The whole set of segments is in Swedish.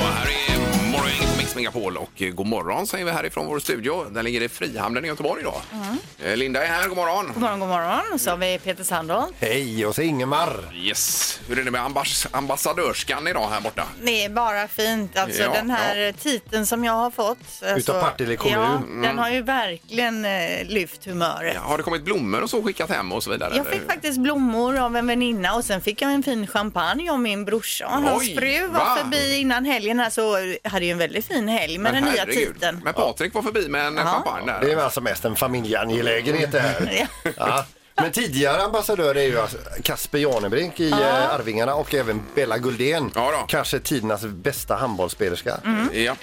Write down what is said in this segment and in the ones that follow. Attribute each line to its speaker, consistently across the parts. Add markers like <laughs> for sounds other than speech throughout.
Speaker 1: Här är Morgongänget på Mix Megapol och eh, god morgon säger vi härifrån vår studio. Den ligger i Frihamnen i Göteborg idag.
Speaker 2: Mm.
Speaker 1: Eh, Linda är här, god morgon!
Speaker 2: God morgon, god morgon. Så har vi Peter Sandholm.
Speaker 3: Hej, och så Ingemar.
Speaker 1: Yes! Hur är det med ambas- ambassadörskan idag här borta?
Speaker 2: Det är bara fint. Alltså
Speaker 1: Ja,
Speaker 2: den här
Speaker 1: ja. Mm.
Speaker 2: titeln som jag har fått. Alltså,
Speaker 3: Partille kommun.
Speaker 2: Ja, den har ju verkligen eh, lyft humöret.
Speaker 1: Ja, har det kommit blommor och så skickat hem och så vidare?
Speaker 2: Jag fick faktiskt blommor av en väninna och sen fick jag en fin champagne av min brorsa. Hans
Speaker 1: Oj,
Speaker 2: fru var
Speaker 1: va?
Speaker 2: förbi innan helgen här så hade ju en väldigt fin helg med den nya
Speaker 1: herregud.
Speaker 2: titeln.
Speaker 1: Men Patrik var förbi med en champagne där.
Speaker 3: Det är alltså mest en familjeangelägenhet det här.
Speaker 2: <laughs> Ja.
Speaker 3: Ja. Men tidigare ambassadör är ju alltså Kasper Janebrink i eh, Arvingarna och även Bella Guldén.
Speaker 1: Ja då.
Speaker 3: Kanske tidernas bästa handbollsspelerska.
Speaker 2: Mm.
Speaker 1: Ja,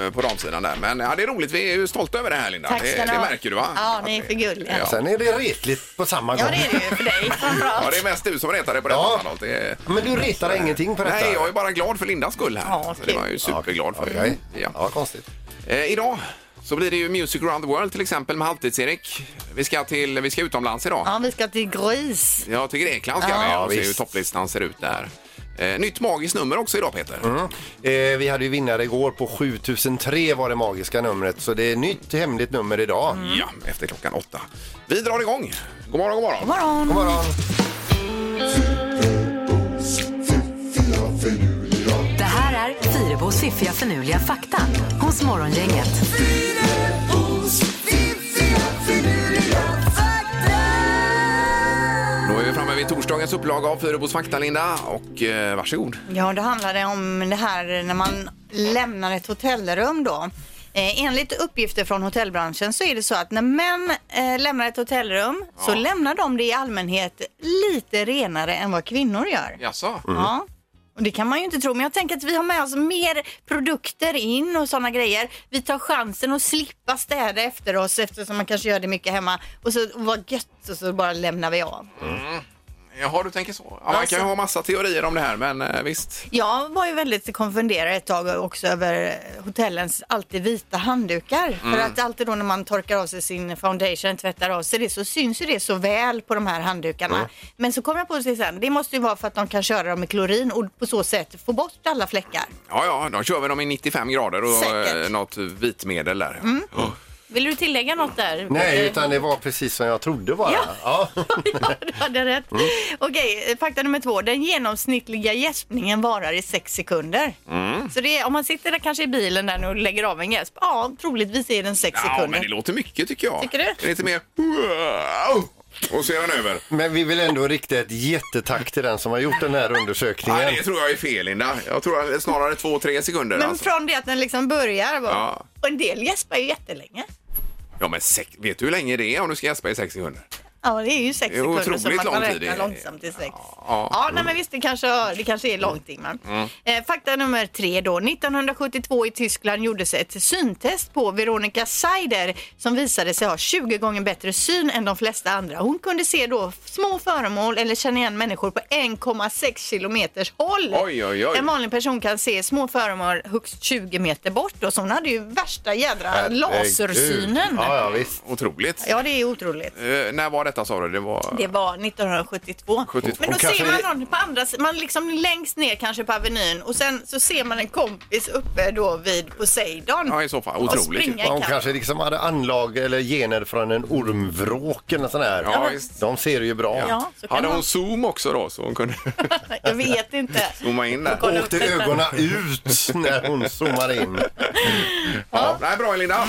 Speaker 1: eh, på damsidan där. Men ja, det är roligt. Vi är ju stolta över det här, Linda.
Speaker 2: Tack
Speaker 1: det,
Speaker 2: ska ni
Speaker 1: det
Speaker 2: ha.
Speaker 1: märker du, va?
Speaker 2: Ja,
Speaker 1: Att
Speaker 2: ni är
Speaker 1: det-
Speaker 2: för gulliga.
Speaker 1: Ja.
Speaker 3: Sen är det retligt på samma
Speaker 2: Ja,
Speaker 3: gång.
Speaker 2: det är det ju för dig
Speaker 1: <laughs> Ja, det
Speaker 2: framförallt.
Speaker 1: är mest du som retar dig på detta,
Speaker 3: Ja.
Speaker 1: Sandholt. det är...
Speaker 3: <laughs> Men du retar ingenting på detta?
Speaker 1: Nej, jag är bara glad för Lindas skull här.
Speaker 2: Ja,
Speaker 1: så det var jag ju
Speaker 3: Ja,
Speaker 1: superglad för.
Speaker 3: okej. Ja,
Speaker 1: Ja.
Speaker 3: konstigt.
Speaker 1: Eh, idag så blir det ju Music around the world till exempel med Halvtids-Erik. Vi ska, till, vi ska utomlands idag.
Speaker 2: Ja, vi ska till Gris.
Speaker 1: Ja, till Grekland ska vi
Speaker 3: Ja,
Speaker 1: och se hur
Speaker 3: visst.
Speaker 1: topplistan ser ut där. Eh, nytt magiskt nummer också idag, Peter.
Speaker 3: Mm. Eh, vi hade ju vinnare igår på 7003 var det magiska numret. Så det är nytt hemligt nummer idag.
Speaker 2: Mm.
Speaker 1: Ja, efter klockan åtta. Vi drar igång. God morgon, god morgon.
Speaker 2: God morgon.
Speaker 3: God morgon.
Speaker 4: Det här är Fyrebos fiffiga förnuliga fakta hos Morgongänget.
Speaker 1: Då är vi framme vid torsdagens upplaga av Fyrebos fakta, Linda. Och eh, varsågod.
Speaker 2: Ja, det handlade om det här när man lämnar ett hotellrum då. Eh, enligt uppgifter från hotellbranschen så är det så att när män eh, lämnar ett hotellrum så lämnar de det i allmänhet lite renare än vad kvinnor gör.
Speaker 5: Mm.
Speaker 1: Jaså?
Speaker 2: Ja. Och det kan man ju inte tro, men jag tänker att vi har med oss mer produkter in och sådana grejer. Vi tar chansen att slippa städa efter oss eftersom man kanske gör det mycket hemma. Och så och vad gött och så bara lämnar vi av.
Speaker 1: Jaha, du tänker så. Ja, man
Speaker 2: Alltså-
Speaker 1: kan ju ha massa teorier om det här, men eh, visst.
Speaker 2: Jag var ju väldigt konfunderad ett tag också över hotellens alltid vita handdukar. För att alltid då när man torkar av sig sin foundation, tvättar av sig det, så syns ju det så väl på de här handdukarna. Men så kom jag på det sen, det måste ju vara för att de kan köra dem med klorin och på så sätt få bort alla fläckar.
Speaker 1: Ja, ja, då kör vi dem i 95 grader och
Speaker 2: Säkert.
Speaker 1: eh, något vitmedel där.
Speaker 3: Mm.
Speaker 1: Ja.
Speaker 2: Vill du tillägga något där? Eh,
Speaker 3: Nej, utan det var precis som jag trodde bara.
Speaker 2: Ja. ja, <laughs> du hade rätt.
Speaker 1: Mm.
Speaker 2: Okej, fakta nummer två. Den genomsnittliga gäspningen varar i sex sekunder.
Speaker 1: Mm.
Speaker 2: Så det är, om man sitter där kanske i bilen där nu och lägger av en gäsp, ja, troligtvis är den sex
Speaker 1: Ja, men det
Speaker 2: sekunder.
Speaker 1: låter mycket tycker jag.
Speaker 2: Tycker du?
Speaker 1: Lite mer... Och så är den över.
Speaker 3: Men vi vill ändå rikta ett jättetack till den som har gjort den här undersökningen.
Speaker 1: Nej, det tror jag är fel, Linda. Jag tror att det är snarare två, tre sekunder.
Speaker 2: Men
Speaker 1: alltså.
Speaker 2: från det att den liksom börjar, bara,
Speaker 1: Ja.
Speaker 2: och en del gäspar ju jättelänge.
Speaker 1: Ja, men sex... vet du hur länge det är om du ska gäspa i sex sekunder?
Speaker 2: Ja, det är ju sex
Speaker 1: Det är
Speaker 2: sekunder
Speaker 1: otroligt
Speaker 2: som man
Speaker 1: lång
Speaker 2: kan
Speaker 1: tid
Speaker 2: räkna
Speaker 1: i-
Speaker 2: långsamt till sex.
Speaker 1: Ja. Mm.
Speaker 2: Ja, nej, men visst, det kanske, det kanske är långt in. men. Eh, fakta nummer tre då. 1972 i Tyskland gjordes ett syntest på Veronica Seider som visade sig ha 20 gånger bättre syn än de flesta andra. Hon kunde se då små föremål eller känna igen människor på 1,6 kilometers håll.
Speaker 1: Oj, oj, oj.
Speaker 2: En vanlig person kan se små föremål högst 20 meter bort. Då, så hon hade ju värsta jädra
Speaker 3: Herregud.
Speaker 2: lasersynen.
Speaker 3: Ja, ja, visst.
Speaker 1: Otroligt.
Speaker 2: Ja, det är otroligt.
Speaker 1: Eh, när var detta sa du? Det var...
Speaker 2: Det var 1972.
Speaker 1: 72.
Speaker 2: Men då
Speaker 3: Och kanske
Speaker 2: ser
Speaker 3: det-
Speaker 2: man någon på andra sidan, man liksom längst ner kanske på Avenyn och sen så ser man en kompis uppe då vid Poseidon.
Speaker 1: Ja, i så fall.
Speaker 2: Och
Speaker 1: Otroligt.
Speaker 2: springa.
Speaker 3: Ja, Hon
Speaker 2: kan.
Speaker 3: kanske liksom hade anlag eller gener från en ormvråk eller sån här.
Speaker 1: Ja, visst.
Speaker 3: De ser ju bra.
Speaker 2: Ja, så kan
Speaker 1: Hade hon
Speaker 2: man...
Speaker 1: zoom också då så hon kunde
Speaker 2: <laughs>
Speaker 1: <laughs>
Speaker 2: Jag vet inte.
Speaker 1: zooma in där?
Speaker 2: Och kolla-
Speaker 3: Åkte ögonen ut när hon zoomar in.
Speaker 1: Ja. Nej, bra Linda.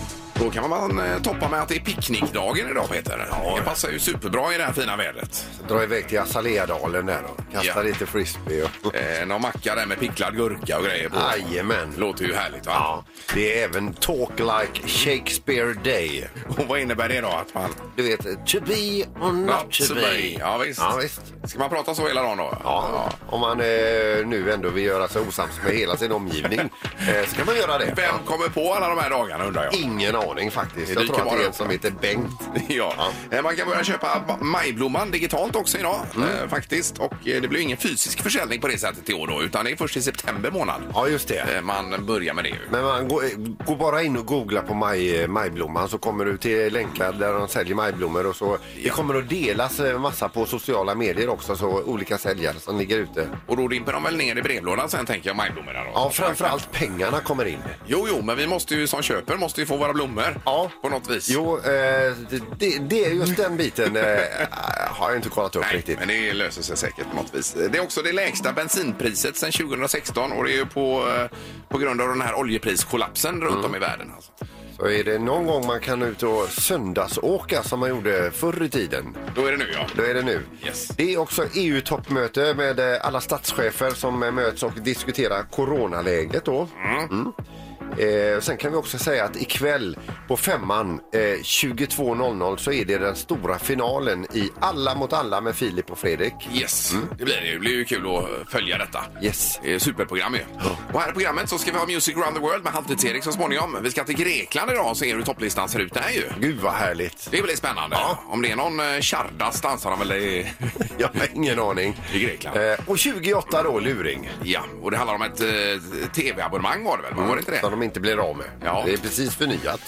Speaker 1: Då kan man eh, toppa med att det är picknickdagen idag Peter. Det passar ju superbra i det här fina vädret.
Speaker 3: Dra iväg till Azaleadalen där och kasta
Speaker 1: Ja.
Speaker 3: lite frisbee. Och...
Speaker 1: Eh, någon macka där med picklad gurka och grejer på.
Speaker 3: <laughs> Jajamän.
Speaker 1: Låter ju härligt va?
Speaker 3: Ja, det är även Talk Like Shakespeare Day.
Speaker 1: Och vad innebär det då att man...
Speaker 3: Du vet, to be or not, to, be.
Speaker 1: Ja visst.
Speaker 3: Ja, visst.
Speaker 1: Ska man prata så hela dagen då?
Speaker 3: Ja, om man eh, nu ändå vill göra <laughs> sig osams med hela sin omgivning eh, så kan man göra det. <laughs>
Speaker 1: Vem kommer på alla de här dagarna undrar jag?
Speaker 3: Ingen aning faktiskt.
Speaker 1: Det
Speaker 3: Jag tror
Speaker 1: kan
Speaker 3: att det
Speaker 1: vara
Speaker 3: är en som
Speaker 1: det.
Speaker 3: heter Bengt.
Speaker 1: Ja. Eh, Man kan börja köpa ma- majblomman digitalt också idag
Speaker 3: Mm.
Speaker 1: eh, faktiskt. Och eh, det blir ingen fysisk försäljning på det sättet i år då, utan det är först i september månad
Speaker 3: Ja, just det.
Speaker 1: eh, man börjar med det ju.
Speaker 3: Men man går, eh, går bara in och googlar på maj, eh, majblomman så kommer du till länkar där de säljer majblommor och så. Det
Speaker 1: Ja.
Speaker 3: kommer att delas eh, massa på sociala medier också, så olika säljare som ligger ute.
Speaker 1: Och då dimper de väl ner i brevlådan sen tänker jag majblommorna då.
Speaker 3: Ja, framförallt pengarna kommer in.
Speaker 1: Jo, jo, men vi måste ju som köper måste ju få våra blommor
Speaker 3: Ja.
Speaker 1: på något vis.
Speaker 3: Jo, eh, det, det är just den biten eh, har jag inte kollat upp
Speaker 1: Nej,
Speaker 3: riktigt.
Speaker 1: men det löser sig säkert på något vis. Det är också det lägsta bensinpriset sedan 2016 och det är ju på, eh, på grund av den här oljepriskollapsen
Speaker 3: Mm.
Speaker 1: runt om i världen. Alltså.
Speaker 3: Så är det någon gång man kan ut och söndagsåka som man gjorde förr i tiden,
Speaker 1: Då är det nu ja.
Speaker 3: då är det nu.
Speaker 1: Yes.
Speaker 3: Det är också EU-toppmöte med eh, alla statschefer som eh, möts och diskuterar coronaläget då. Mm. Eh, sen kan vi också säga att ikväll på femman eh, 22.00 så är det den stora finalen i Alla mot alla med Filip och Fredrik.
Speaker 1: Yes, det blir det ju. Det blir ju kul att eh, följa detta.
Speaker 3: Mm. Yes.
Speaker 1: Det är ett superprogram ju. Och här i programmet så ska vi ha Music around the world med Halvtids-Erik så småningom. Vi ska till Grekland idag och se hur topplistan ser ut där ju.
Speaker 3: Gud vad härligt.
Speaker 1: <laughs> Det blir spännande. Om det är någon eh, Chardas dansar de väl i... <laughs>
Speaker 3: Jag har ingen aning.
Speaker 1: I Grekland.
Speaker 3: Eh, och 28 då, luring.
Speaker 1: ja, och det handlar om ett eh, tv-abonnemang var det väl? Var det inte det?
Speaker 3: Som de inte blir av med.
Speaker 1: Ja.
Speaker 3: Det är precis förnyat.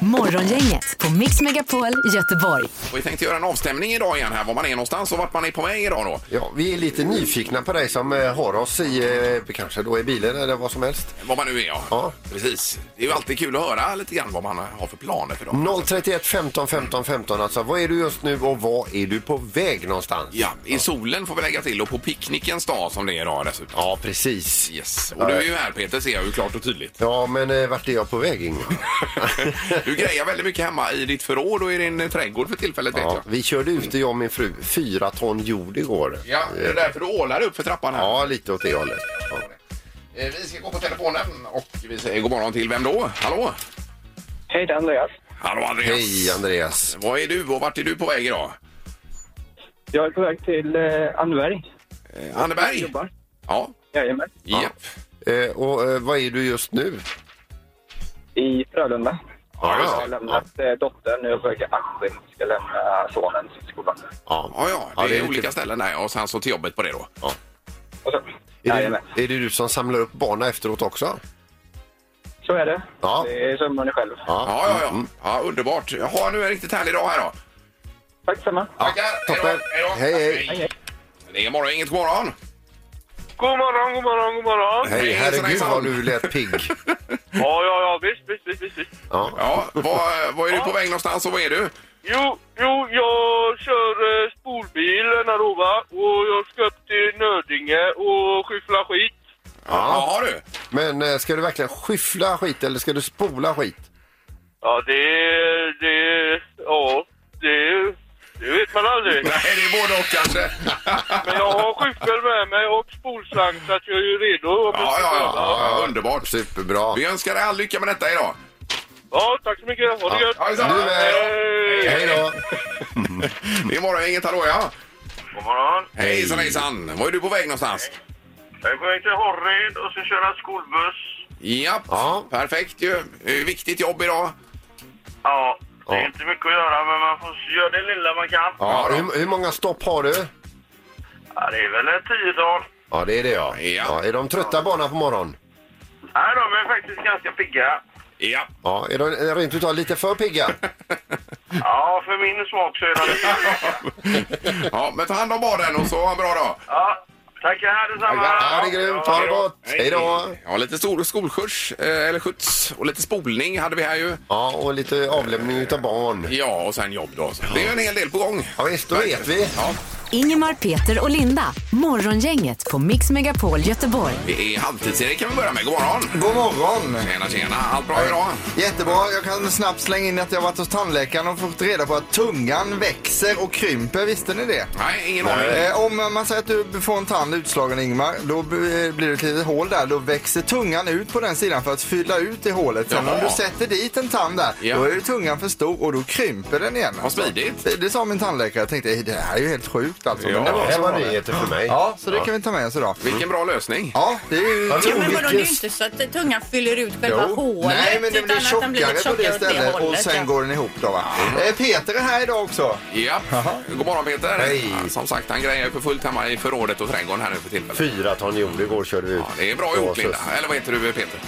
Speaker 4: Morgongänget på Mix Megapol Göteborg.
Speaker 1: Och vi tänkte göra en avstämning idag igen här, var man är någonstans och vart man är på väg idag då.
Speaker 3: Ja, vi är lite nyfikna på dig som eh, har oss i, eh, kanske då i bilen eller vad som helst.
Speaker 1: Var man nu är ja.
Speaker 3: Ja.
Speaker 1: Precis. Det är ju alltid kul att höra lite grann vad man har för planer för dagen.
Speaker 3: 031 15 15 15 alltså. Vad är du just nu och var är du på väg någonstans?
Speaker 1: Ja, i solen får vi lägga till och på picknickens dag som det är idag dessutom.
Speaker 3: Ja, precis.
Speaker 1: Yes. Och du är ju här Peter ser jag ju klart och
Speaker 3: <laughs>
Speaker 1: tydligt.
Speaker 3: Ja, men eh, vart är jag på
Speaker 1: <laughs>
Speaker 3: väg Ingmar?
Speaker 1: Du grejar väldigt mycket hemma i ditt förråd och i din eh, trädgård för tillfället vet
Speaker 3: ja,
Speaker 1: jag.
Speaker 3: vi körde ute, jag och min fru, fyra ton jord igår. Eh,
Speaker 1: Ja, det är därför du ålar upp för trappan här.
Speaker 3: Ja, lite åt det hållet. Ja.
Speaker 1: Eh, Vi ska gå på telefonen och vi säger god morgon till vem då? Hallå?
Speaker 5: Hej, det är Andreas.
Speaker 1: Hallå Andreas!
Speaker 3: Hej Andreas.
Speaker 1: Vad är du och vart är du på väg idag?
Speaker 5: Jag är på väg till eh, Anneberg.
Speaker 1: Eh, Anneberg?
Speaker 5: Jobbar.
Speaker 1: Ja.
Speaker 5: Jajamän.
Speaker 1: Japp.
Speaker 3: Eh, och eh, vad är du just nu?
Speaker 5: I Frölunda.
Speaker 1: Ja,
Speaker 5: Jag har
Speaker 1: just det.
Speaker 5: lämnat eh, dottern. Nu är jag på väg till Askim. Ska lämna sonen till skolan.
Speaker 1: Ja, ja, det,
Speaker 3: Ja, det är
Speaker 1: är,
Speaker 3: lite-
Speaker 1: olika ställen där och sen så till jobbet på det då.
Speaker 5: Och så.
Speaker 3: Är det,
Speaker 5: Jajamän.
Speaker 3: är det du som samlar upp barna efteråt också?
Speaker 5: Så är det.
Speaker 3: Ja.
Speaker 5: Det är sömnen själv.
Speaker 1: Ja, ja,
Speaker 3: Mm.
Speaker 1: ja. ja underbart. Jaha, nu är det riktigt härlig dag här då.
Speaker 5: Tack samma.
Speaker 1: Tackar!
Speaker 3: toppen.
Speaker 1: Hej, då.
Speaker 3: Hej, hej.
Speaker 5: Hej, hej.
Speaker 1: Det är morgon, inget god morgon.
Speaker 6: God morgon, god morgon, god morgon.
Speaker 3: Hej,
Speaker 1: hejsan,
Speaker 3: herregud
Speaker 1: hejsan.
Speaker 3: vad du lät pigg.
Speaker 6: Ja, ja, ja, visst, visst, visst, visst, visst.
Speaker 3: Ja.
Speaker 1: Ja, var, var är du på väg någonstans och var är du?
Speaker 6: Jo, jo, jag kör eh, spolbilen här då, va? och jag ska upp till Nödinge och skyffla skit.
Speaker 1: Ja, har du?
Speaker 3: Men eh, ska du verkligen skyffla skit eller ska du spola skit?
Speaker 6: Ja, det, det, ja, det, det vet man aldrig.
Speaker 1: Nej, det är både och kanske.
Speaker 6: <laughs> Men jag har skyffel med mig och spolslang så att jag är ju redo. om jag
Speaker 1: Ja,
Speaker 6: ska
Speaker 1: ja, ja,
Speaker 6: köra.
Speaker 1: ja. Underbart.
Speaker 3: Superbra.
Speaker 1: Vi önskar dig all lycka med detta idag.
Speaker 6: ja, tack så mycket. Ha det gött.
Speaker 1: Ja, detsamma.
Speaker 3: Du med.
Speaker 6: Hej.
Speaker 3: Hej då!
Speaker 1: Det är morgon, inget hallå ja.
Speaker 6: God morgon.
Speaker 1: Hejsan, hejsan. Var är du på väg någonstans?
Speaker 6: Jag är på väg till Horred och ska köra skolbuss.
Speaker 1: Japp,
Speaker 3: Ja.
Speaker 1: perfekt ju. Det är Viktigt jobb idag.
Speaker 6: Ja, det är
Speaker 3: Ja.
Speaker 6: inte mycket att göra men man får göra det lilla man kan. Ja.
Speaker 3: Ja,
Speaker 1: Ja, då.
Speaker 3: hur, hur många stopp har du?
Speaker 6: det är väl ett tiotal.
Speaker 3: Ja, det är det ja.
Speaker 1: Ja.
Speaker 3: är de trötta barna på morgonen?
Speaker 6: Nej, de är faktiskt ganska pigga.
Speaker 1: Ja.
Speaker 3: Ja, är de är de rent utav lite för pigga?
Speaker 6: Ja, för min smak så är de lite pigga.
Speaker 1: ja, men ta hand om barnen och så ha en bra dag.
Speaker 6: Ja, tackar detsamma.
Speaker 3: Ja, det är grymt. Ha det gott! Hej då!
Speaker 1: Ja, lite stor skolskjuts, eh, eller skjuts, och lite spolning hade vi här ju.
Speaker 3: Ja, och lite avlämning utav barn.
Speaker 1: Ja, och sen jobb då. Så Det är ju en hel del på gång.
Speaker 3: Ja, visst, då vet vi.
Speaker 1: Ja,
Speaker 4: Ingemar, Peter och Linda. Morgongänget på Mix Megapol Göteborg.
Speaker 1: det är halvtids-Erik kan vi börja med. God morgon!
Speaker 7: God morgon!
Speaker 1: Tjena, tjena. Allt bra idag?
Speaker 7: Jättebra. Jag kan snabbt slänga in att jag varit hos tandläkaren och fått reda på att tungan växer och krymper. Visste ni det?
Speaker 1: Nej, ingen aning.
Speaker 7: Eh, om man säger att du får en tand utslagen Ingmar, då b- eh, blir det ett litet hål där. Då växer tungan ut på den sidan för att fylla ut det hålet. Sen
Speaker 1: Jaha.
Speaker 7: om du sätter dit en tand där,
Speaker 1: Ja.
Speaker 7: då är ju tungan för stor och då krymper den igen.
Speaker 1: Vad smidigt.
Speaker 7: Det, det sa min tandläkare. Jag tänkte, "Eh, det här är ju helt sjukt. rakt alltså.
Speaker 1: Ja.
Speaker 7: Men det var-
Speaker 3: Det var nyheter för mig.
Speaker 7: ja, så det kan vi ta med oss idag.
Speaker 1: Vilken bra lösning.
Speaker 7: Ja, det är ju...
Speaker 3: men
Speaker 8: Ja, men vadå, det är ju
Speaker 3: Vilken-
Speaker 8: inte så att tungan fyller ut själva
Speaker 3: Jo.
Speaker 8: hålet.
Speaker 7: Nej, men det
Speaker 8: utan att
Speaker 7: blir
Speaker 8: den
Speaker 7: tjockare
Speaker 8: lite
Speaker 7: på det
Speaker 8: tjockare åt
Speaker 7: stället och
Speaker 8: hållet, ja.
Speaker 7: sen går den ihop då va. Eh, Peter är här idag också.
Speaker 1: Ja. God morgon Peter.
Speaker 3: Hej.
Speaker 1: Som sagt, han grejer för fullt hemma i förrådet och trädgården här nu för tillfället.
Speaker 3: Fyra ton jord igår körde vi ut.
Speaker 1: Ja, det är bra gjort
Speaker 3: så-
Speaker 1: Linda. Eller vad heter du Peter?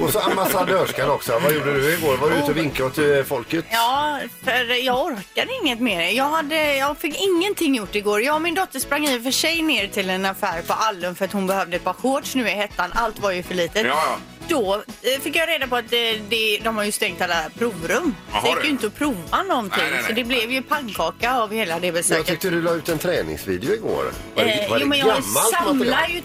Speaker 3: Och så ambassadörskan också. Vad gjorde du igår? Var du ute och vinkade åt eh, folket?
Speaker 2: Ja, för jag orkade inget mer. Jag, hade, jag fick ingenting gjort igår. Jag och min dotter sprang i och för sig ner till en affär på Allum för att hon behövde ett par shorts nu i hettan. Allt var ju för litet.
Speaker 1: Ja, ja.
Speaker 2: Då eh, fick jag reda på att eh, det, de har ju stängt alla provrum.
Speaker 1: Jaha,
Speaker 2: det gick
Speaker 1: du.
Speaker 2: ju inte att prova någonting.
Speaker 1: Nej, nej, nej.
Speaker 2: Så det blev ju pannkaka av hela det
Speaker 3: Jag
Speaker 2: besöket.
Speaker 3: tyckte du la ut en träningsvideo igår. Var det,
Speaker 2: Eh,
Speaker 3: var det
Speaker 2: jo, men jag
Speaker 3: gammalt
Speaker 2: samlar
Speaker 3: material?
Speaker 2: ju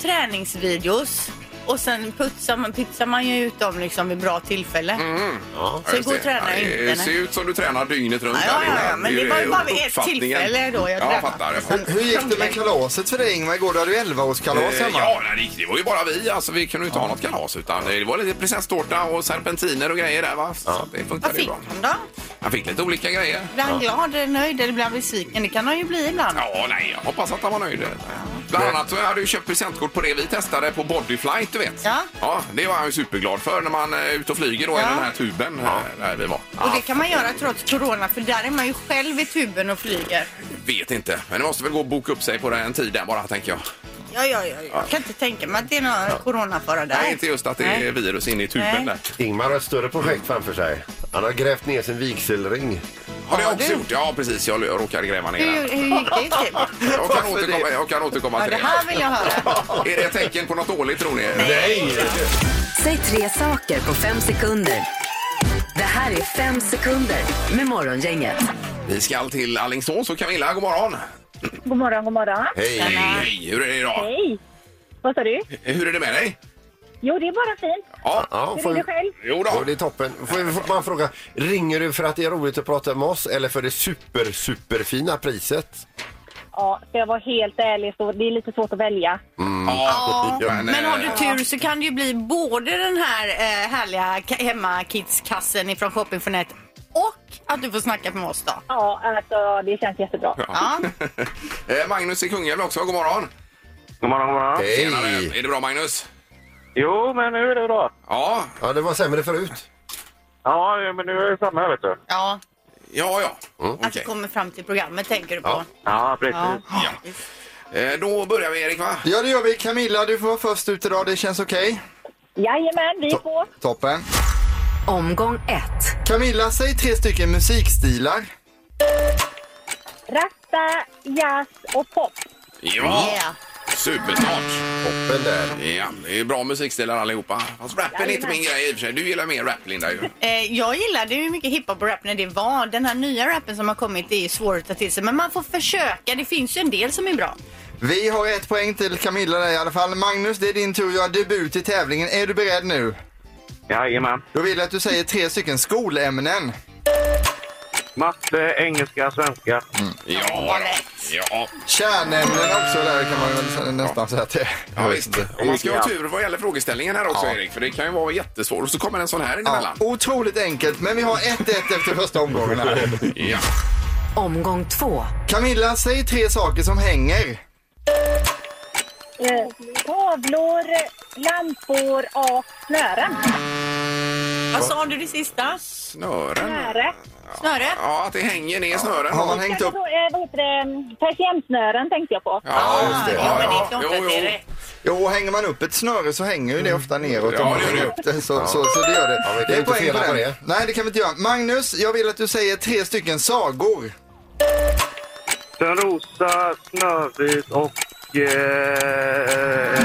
Speaker 2: träningsvideos och sen putsar man, pytsar man ju ut dem liksom vid bra tillfälle.
Speaker 1: Mm, Ja,
Speaker 2: Så
Speaker 1: just
Speaker 2: igår
Speaker 1: det.
Speaker 2: tränar jag
Speaker 1: Ja,
Speaker 2: inte,
Speaker 1: Det
Speaker 2: nej.
Speaker 1: ser ut som du tränar dygnet runt.
Speaker 2: Ja,
Speaker 1: här,
Speaker 2: ja,
Speaker 1: Linda.
Speaker 2: ja, men det var ju bara vid ett
Speaker 1: uppfattningen.
Speaker 2: tillfälle då jag
Speaker 1: ja,
Speaker 2: tränade.
Speaker 1: fattar. Jag fattar.
Speaker 7: Hur gick det med kalaset för dig Ingmar igår? Du hade ju 11-årskalas
Speaker 1: Eh,
Speaker 7: hemma.
Speaker 1: Ja, nej, det gick- det var ju bara vi. Alltså, vi kunde ju inte ha något kalas. Utan det var lite prinsesstårta och serpentiner och grejer där. Va? Så det
Speaker 2: Vad
Speaker 1: funkade ju
Speaker 2: fick
Speaker 1: bra.
Speaker 2: han då?
Speaker 1: Han fick lite olika grejer.
Speaker 2: Blir han glad eller nöjd eller blir han besviken? Det kan han ju bli ibland.
Speaker 1: Ja, nej, jag hoppas att han var nöjd. Bland annat så hade jag köpt presentkort på det vi testade på Bodyflight, du vet.
Speaker 2: Ja.
Speaker 1: det var han ju superglad för när man eh, är ute och flyger då i
Speaker 2: Ja.
Speaker 1: den här tuben eh, där vi var.
Speaker 2: Och det kan man göra trots corona för där är man ju själv i tuben och flyger.
Speaker 1: Vet inte, men det måste väl gå och boka upp sig på en tid där bara, tänker jag.
Speaker 2: Ja, ja, ja. Jag kan inte tänka mig att det är någon coronafara där.
Speaker 1: Nej, inte just att det är
Speaker 2: Nej.
Speaker 1: virus inne i tuben
Speaker 2: Nej.
Speaker 1: där.
Speaker 3: Ingmar har ett större projekt framför sig. Han har grävt ner sin vigselring.
Speaker 1: Har jag
Speaker 2: Har
Speaker 1: också
Speaker 2: du?
Speaker 1: gjort? Ja, precis. Jag råkade gräva ner
Speaker 2: Hur,
Speaker 1: den.
Speaker 2: hur gick
Speaker 1: <laughs>
Speaker 2: det
Speaker 1: Jag
Speaker 2: till?
Speaker 1: kan
Speaker 7: Varför
Speaker 1: återkomma,
Speaker 7: det?
Speaker 1: jag kan återkomma
Speaker 2: Ja,
Speaker 1: till
Speaker 2: det här vill jag höra.
Speaker 1: Är det ett tecken på något dåligt, tror ni?
Speaker 3: Nej!
Speaker 4: Säg tre saker på fem sekunder. Det här är fem sekunder med Morgongänget.
Speaker 1: Vi ska till Alingsås och Camilla, god morgon.
Speaker 9: God morgon, god morgon.
Speaker 1: Hej!
Speaker 3: Hej!
Speaker 1: Hej! Hur är det idag?
Speaker 9: Hej! Vad sa du?
Speaker 1: Hur är det med dig?
Speaker 9: Jo, det är bara fint.
Speaker 1: Ja.
Speaker 3: Ja,
Speaker 9: Hur
Speaker 3: får
Speaker 9: är
Speaker 3: vi...
Speaker 9: det själv?
Speaker 1: Jo
Speaker 3: Ja,
Speaker 1: då.
Speaker 3: det är toppen. Får får man fråga, ringer du för att det är roligt att prata med oss eller för det super, superfina priset?
Speaker 9: Ja, ska jag vara helt ärlig så det är lite svårt att välja.
Speaker 3: <laughs>
Speaker 1: Ja,
Speaker 2: Ja,
Speaker 1: men,
Speaker 2: Men har du
Speaker 1: eh,
Speaker 2: tur så kan det ju bli både den här eh, härliga ka- hemmakidskassen ifrån Shopping for Net och att du får snacka med oss då.
Speaker 9: Ja, alltså det känns jättebra.
Speaker 2: Ja.
Speaker 1: <laughs> eh, Magnus i Kungälv också, god morgon.
Speaker 6: God morgon, god morgon.
Speaker 1: Tjenare.
Speaker 3: Hej!
Speaker 1: Är det bra Magnus?
Speaker 6: Jo, men nu är det bra.
Speaker 1: Ja,
Speaker 3: Ja, det var sämre förut.
Speaker 6: Ja, men nu är det samma här, vet du.
Speaker 2: ja.
Speaker 1: ja, ja.
Speaker 2: Att du
Speaker 1: Okej. Mm.
Speaker 2: kommer fram till programmet tänker du på.
Speaker 3: Ja.
Speaker 6: Ja, precis.
Speaker 2: Ja.
Speaker 1: Eh, Då börjar vi Erik va?
Speaker 7: Ja, det gör vi. Camilla, du får vara först ut idag. Det känns okej.
Speaker 9: Jajamän, vi är på.
Speaker 7: Toppen.
Speaker 4: Omgång ett.
Speaker 7: Camilla, säg tre stycken musikstilar.
Speaker 9: Rasta, jazz och pop.
Speaker 1: Ja,
Speaker 2: Yeah.
Speaker 1: supersmart.
Speaker 3: Toppen där.
Speaker 1: Ja, det är bra musikstilar allihopa. Fast rappen är inte min grej i och för sig. Du gillar mer rap Linda ju.
Speaker 2: Eh, jag gillade ju mycket hiphop och rap när det var. Den här nya rappen som har kommit det är ju svår att ta till sig. Men man får försöka. Det finns ju en del som är bra.
Speaker 7: Vi har ett poäng till Camilla där i alla fall. Magnus, det är din tur att göra debut i tävlingen. Är du beredd nu?
Speaker 6: Jajamän.
Speaker 7: Då vill jag att du säger tre stycken skolämnen.
Speaker 6: Matte, engelska, svenska.
Speaker 1: Ja, då. ja,
Speaker 7: Kärnämnen också där kan man väl nästan säga att det är.
Speaker 1: ja visst. Och man ska ha tur vad gäller frågeställningen här också
Speaker 7: Ja.
Speaker 1: Erik. För det kan ju vara jättesvårt. Och så kommer en sån här
Speaker 7: Ja, Oh.
Speaker 1: emellan.
Speaker 7: otroligt enkelt, men vi har 1-1 efter första omgången här.
Speaker 1: Ja.
Speaker 4: Omgång två.
Speaker 7: Camilla, säg tre saker som hänger.
Speaker 9: Eh, tavlor, lampor och snören.
Speaker 2: Vad sa du det sista?
Speaker 1: Snören.
Speaker 9: Snöre.
Speaker 2: Snöret?
Speaker 1: Ja, att det hänger ner snören.
Speaker 7: Har man hängt
Speaker 9: Kanske
Speaker 7: upp...
Speaker 9: då, eh, vad heter det? Persiennsnören tänkte jag på.
Speaker 1: Ja, just det.
Speaker 2: jo,
Speaker 1: Ja,
Speaker 2: men det är
Speaker 1: ja.
Speaker 2: klart
Speaker 1: Jo,
Speaker 2: att det är
Speaker 1: jo.
Speaker 2: rätt.
Speaker 7: Jo, hänger man upp ett snöre så hänger ju det ofta neråt.
Speaker 1: Ja,
Speaker 7: om man
Speaker 1: det gör
Speaker 7: hänger
Speaker 1: det.
Speaker 7: upp det. Så, så, så det gör det.
Speaker 3: Ja, vi kan
Speaker 7: det är
Speaker 3: inte
Speaker 7: poäng
Speaker 3: fela
Speaker 7: på
Speaker 3: på
Speaker 7: den.
Speaker 3: det.
Speaker 7: Nej, det kan vi inte göra. Magnus, jag vill att du säger tre stycken sagor.
Speaker 6: Törnrosa, Snövit och... Eh,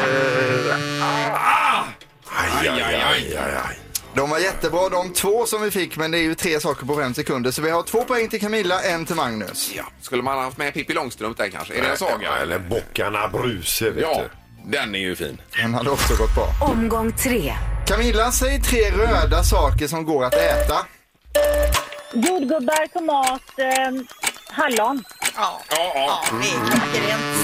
Speaker 1: Aj, aj, aj, aj, aj.
Speaker 7: De var jättebra de två som vi fick, men det är ju tre saker på fem sekunder. Så vi har två poäng till Camilla, en till Magnus.
Speaker 1: Ja. Skulle man ha haft med Pippi Långstrump där kanske? Är det en saga?
Speaker 3: Eller Bockarna Bruse, vet
Speaker 1: Ja,
Speaker 3: du.
Speaker 1: den är ju fin.
Speaker 7: Den hade också gått bra.
Speaker 4: Omgång tre.
Speaker 7: Camilla, säg tre röda saker som går att äta.
Speaker 9: Jordgubbar, tomat, eh, hallon.
Speaker 2: Ja.
Speaker 1: Ja, ja.
Speaker 2: Ja, det är klockrent.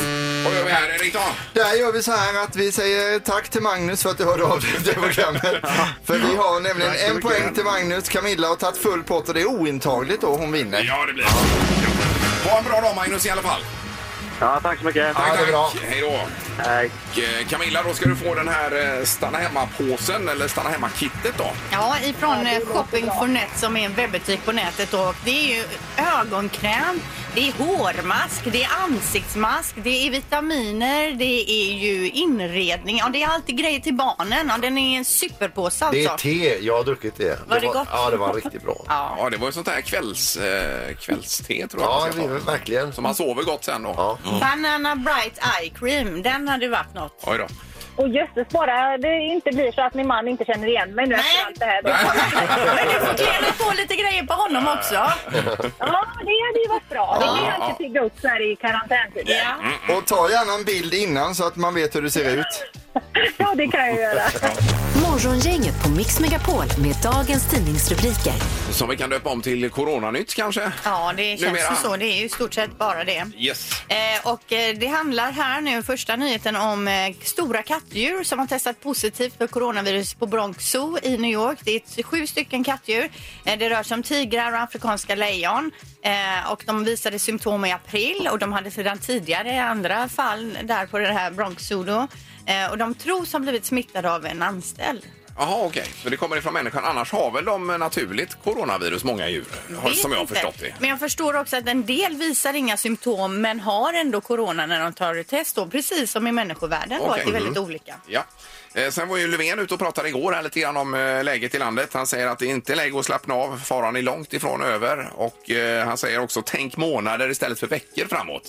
Speaker 1: Vad gör vi här Erik då?
Speaker 7: Där gör vi så här att vi säger tack till Magnus för att du hörde av dig till programmet.
Speaker 1: <laughs>
Speaker 7: För vi har nämligen
Speaker 1: Tack så
Speaker 7: en
Speaker 1: mycket.
Speaker 7: poäng till Magnus. Camilla har tagit full pott och det är ointagligt då hon vinner.
Speaker 1: Ja, det blir det. Ha en bra dag Magnus i alla fall.
Speaker 5: Ja, tack så mycket.
Speaker 3: Ja, det är bra.
Speaker 1: Hej då.
Speaker 5: Hej.
Speaker 1: Och, eh, Camilla, då ska du få den här eh, stanna hemma-påsen eller stanna hemma-kittet då.
Speaker 2: Ja, ifrån eh, Shopping for Net som är en webbutik på nätet. Och det är ju ögonkräm, det är hårmask, det är ansiktsmask, det är vitaminer, det är ju inredning. Ja, det är alltid grejer till barnen. Ja, den är en superpåse alltså.
Speaker 3: Det är te. Jag har druckit det.
Speaker 8: Var det gott?
Speaker 3: Ja, det var riktigt bra.
Speaker 2: ja.
Speaker 1: Ja, det var ju sånt här kvälls, eh, kvällste tror jag.
Speaker 3: Ja,
Speaker 1: man ska
Speaker 3: det är
Speaker 1: ta.
Speaker 3: verkligen.
Speaker 1: Så man sover gott sen då.
Speaker 3: Ja.
Speaker 2: Banana Bright Eye Cream.
Speaker 8: Den hade varit något.
Speaker 1: Oj då. <laughs>
Speaker 9: Och jösses bara det inte blir så att min man inte känner igen mig nu
Speaker 8: Nej.
Speaker 9: efter allt det här.
Speaker 8: Men du får kläna på lite grejer på honom
Speaker 3: <laughs>
Speaker 8: också.
Speaker 9: Ja, det hade ju varit bra. Det
Speaker 1: Ja.
Speaker 9: kan jag inte pigga upp så här i typ. karantäntiden.
Speaker 8: Ja.
Speaker 7: Och ta gärna en bild innan så att man vet hur det ser ut.
Speaker 9: Ja, det kan jag göra.
Speaker 4: Morgongänget på Mix Megapol med dagens tidningsrubriker.
Speaker 1: Som vi kan döpa om till Coronanytt kanske?
Speaker 2: Ja, det känns
Speaker 1: Numera.
Speaker 2: ju så. Det är ju i stort sett bara det.
Speaker 1: Yes.
Speaker 2: Eh, och eh, det handlar här nu, första nyheten, om eh, stora kattdjur som har testat positivt för coronavirus på Bronx Zoo i New York. Det är t- sju stycken kattdjur. Eh, det rör sig om tigrar och afrikanska lejon. Eh, och de visade symptom i april och de hade sedan tidigare andra fall där på det här Bronx Zoo då. Eh, och de tros ha blivit smittade av en anställd.
Speaker 1: Jaha, okej. Så det kommer ifrån människan. Annars har väl de naturligt coronavirus, många djur? har-
Speaker 2: Vet
Speaker 1: Som jag har
Speaker 2: inte.
Speaker 1: förstått det.
Speaker 2: Men jag förstår också att en del visar inga symptom men har ändå corona när de tar ett test då, precis som i människovärlden då,
Speaker 1: Okej. Mm.
Speaker 2: att det är väldigt olika.
Speaker 1: Ja. Eh, Sen var ju Löfven ute och pratade igår här lite grann om eh, läget i landet. Han säger att det inte är läge att slappna av. Faran är långt ifrån över. Och eh, han säger också tänk månader istället för veckor framåt.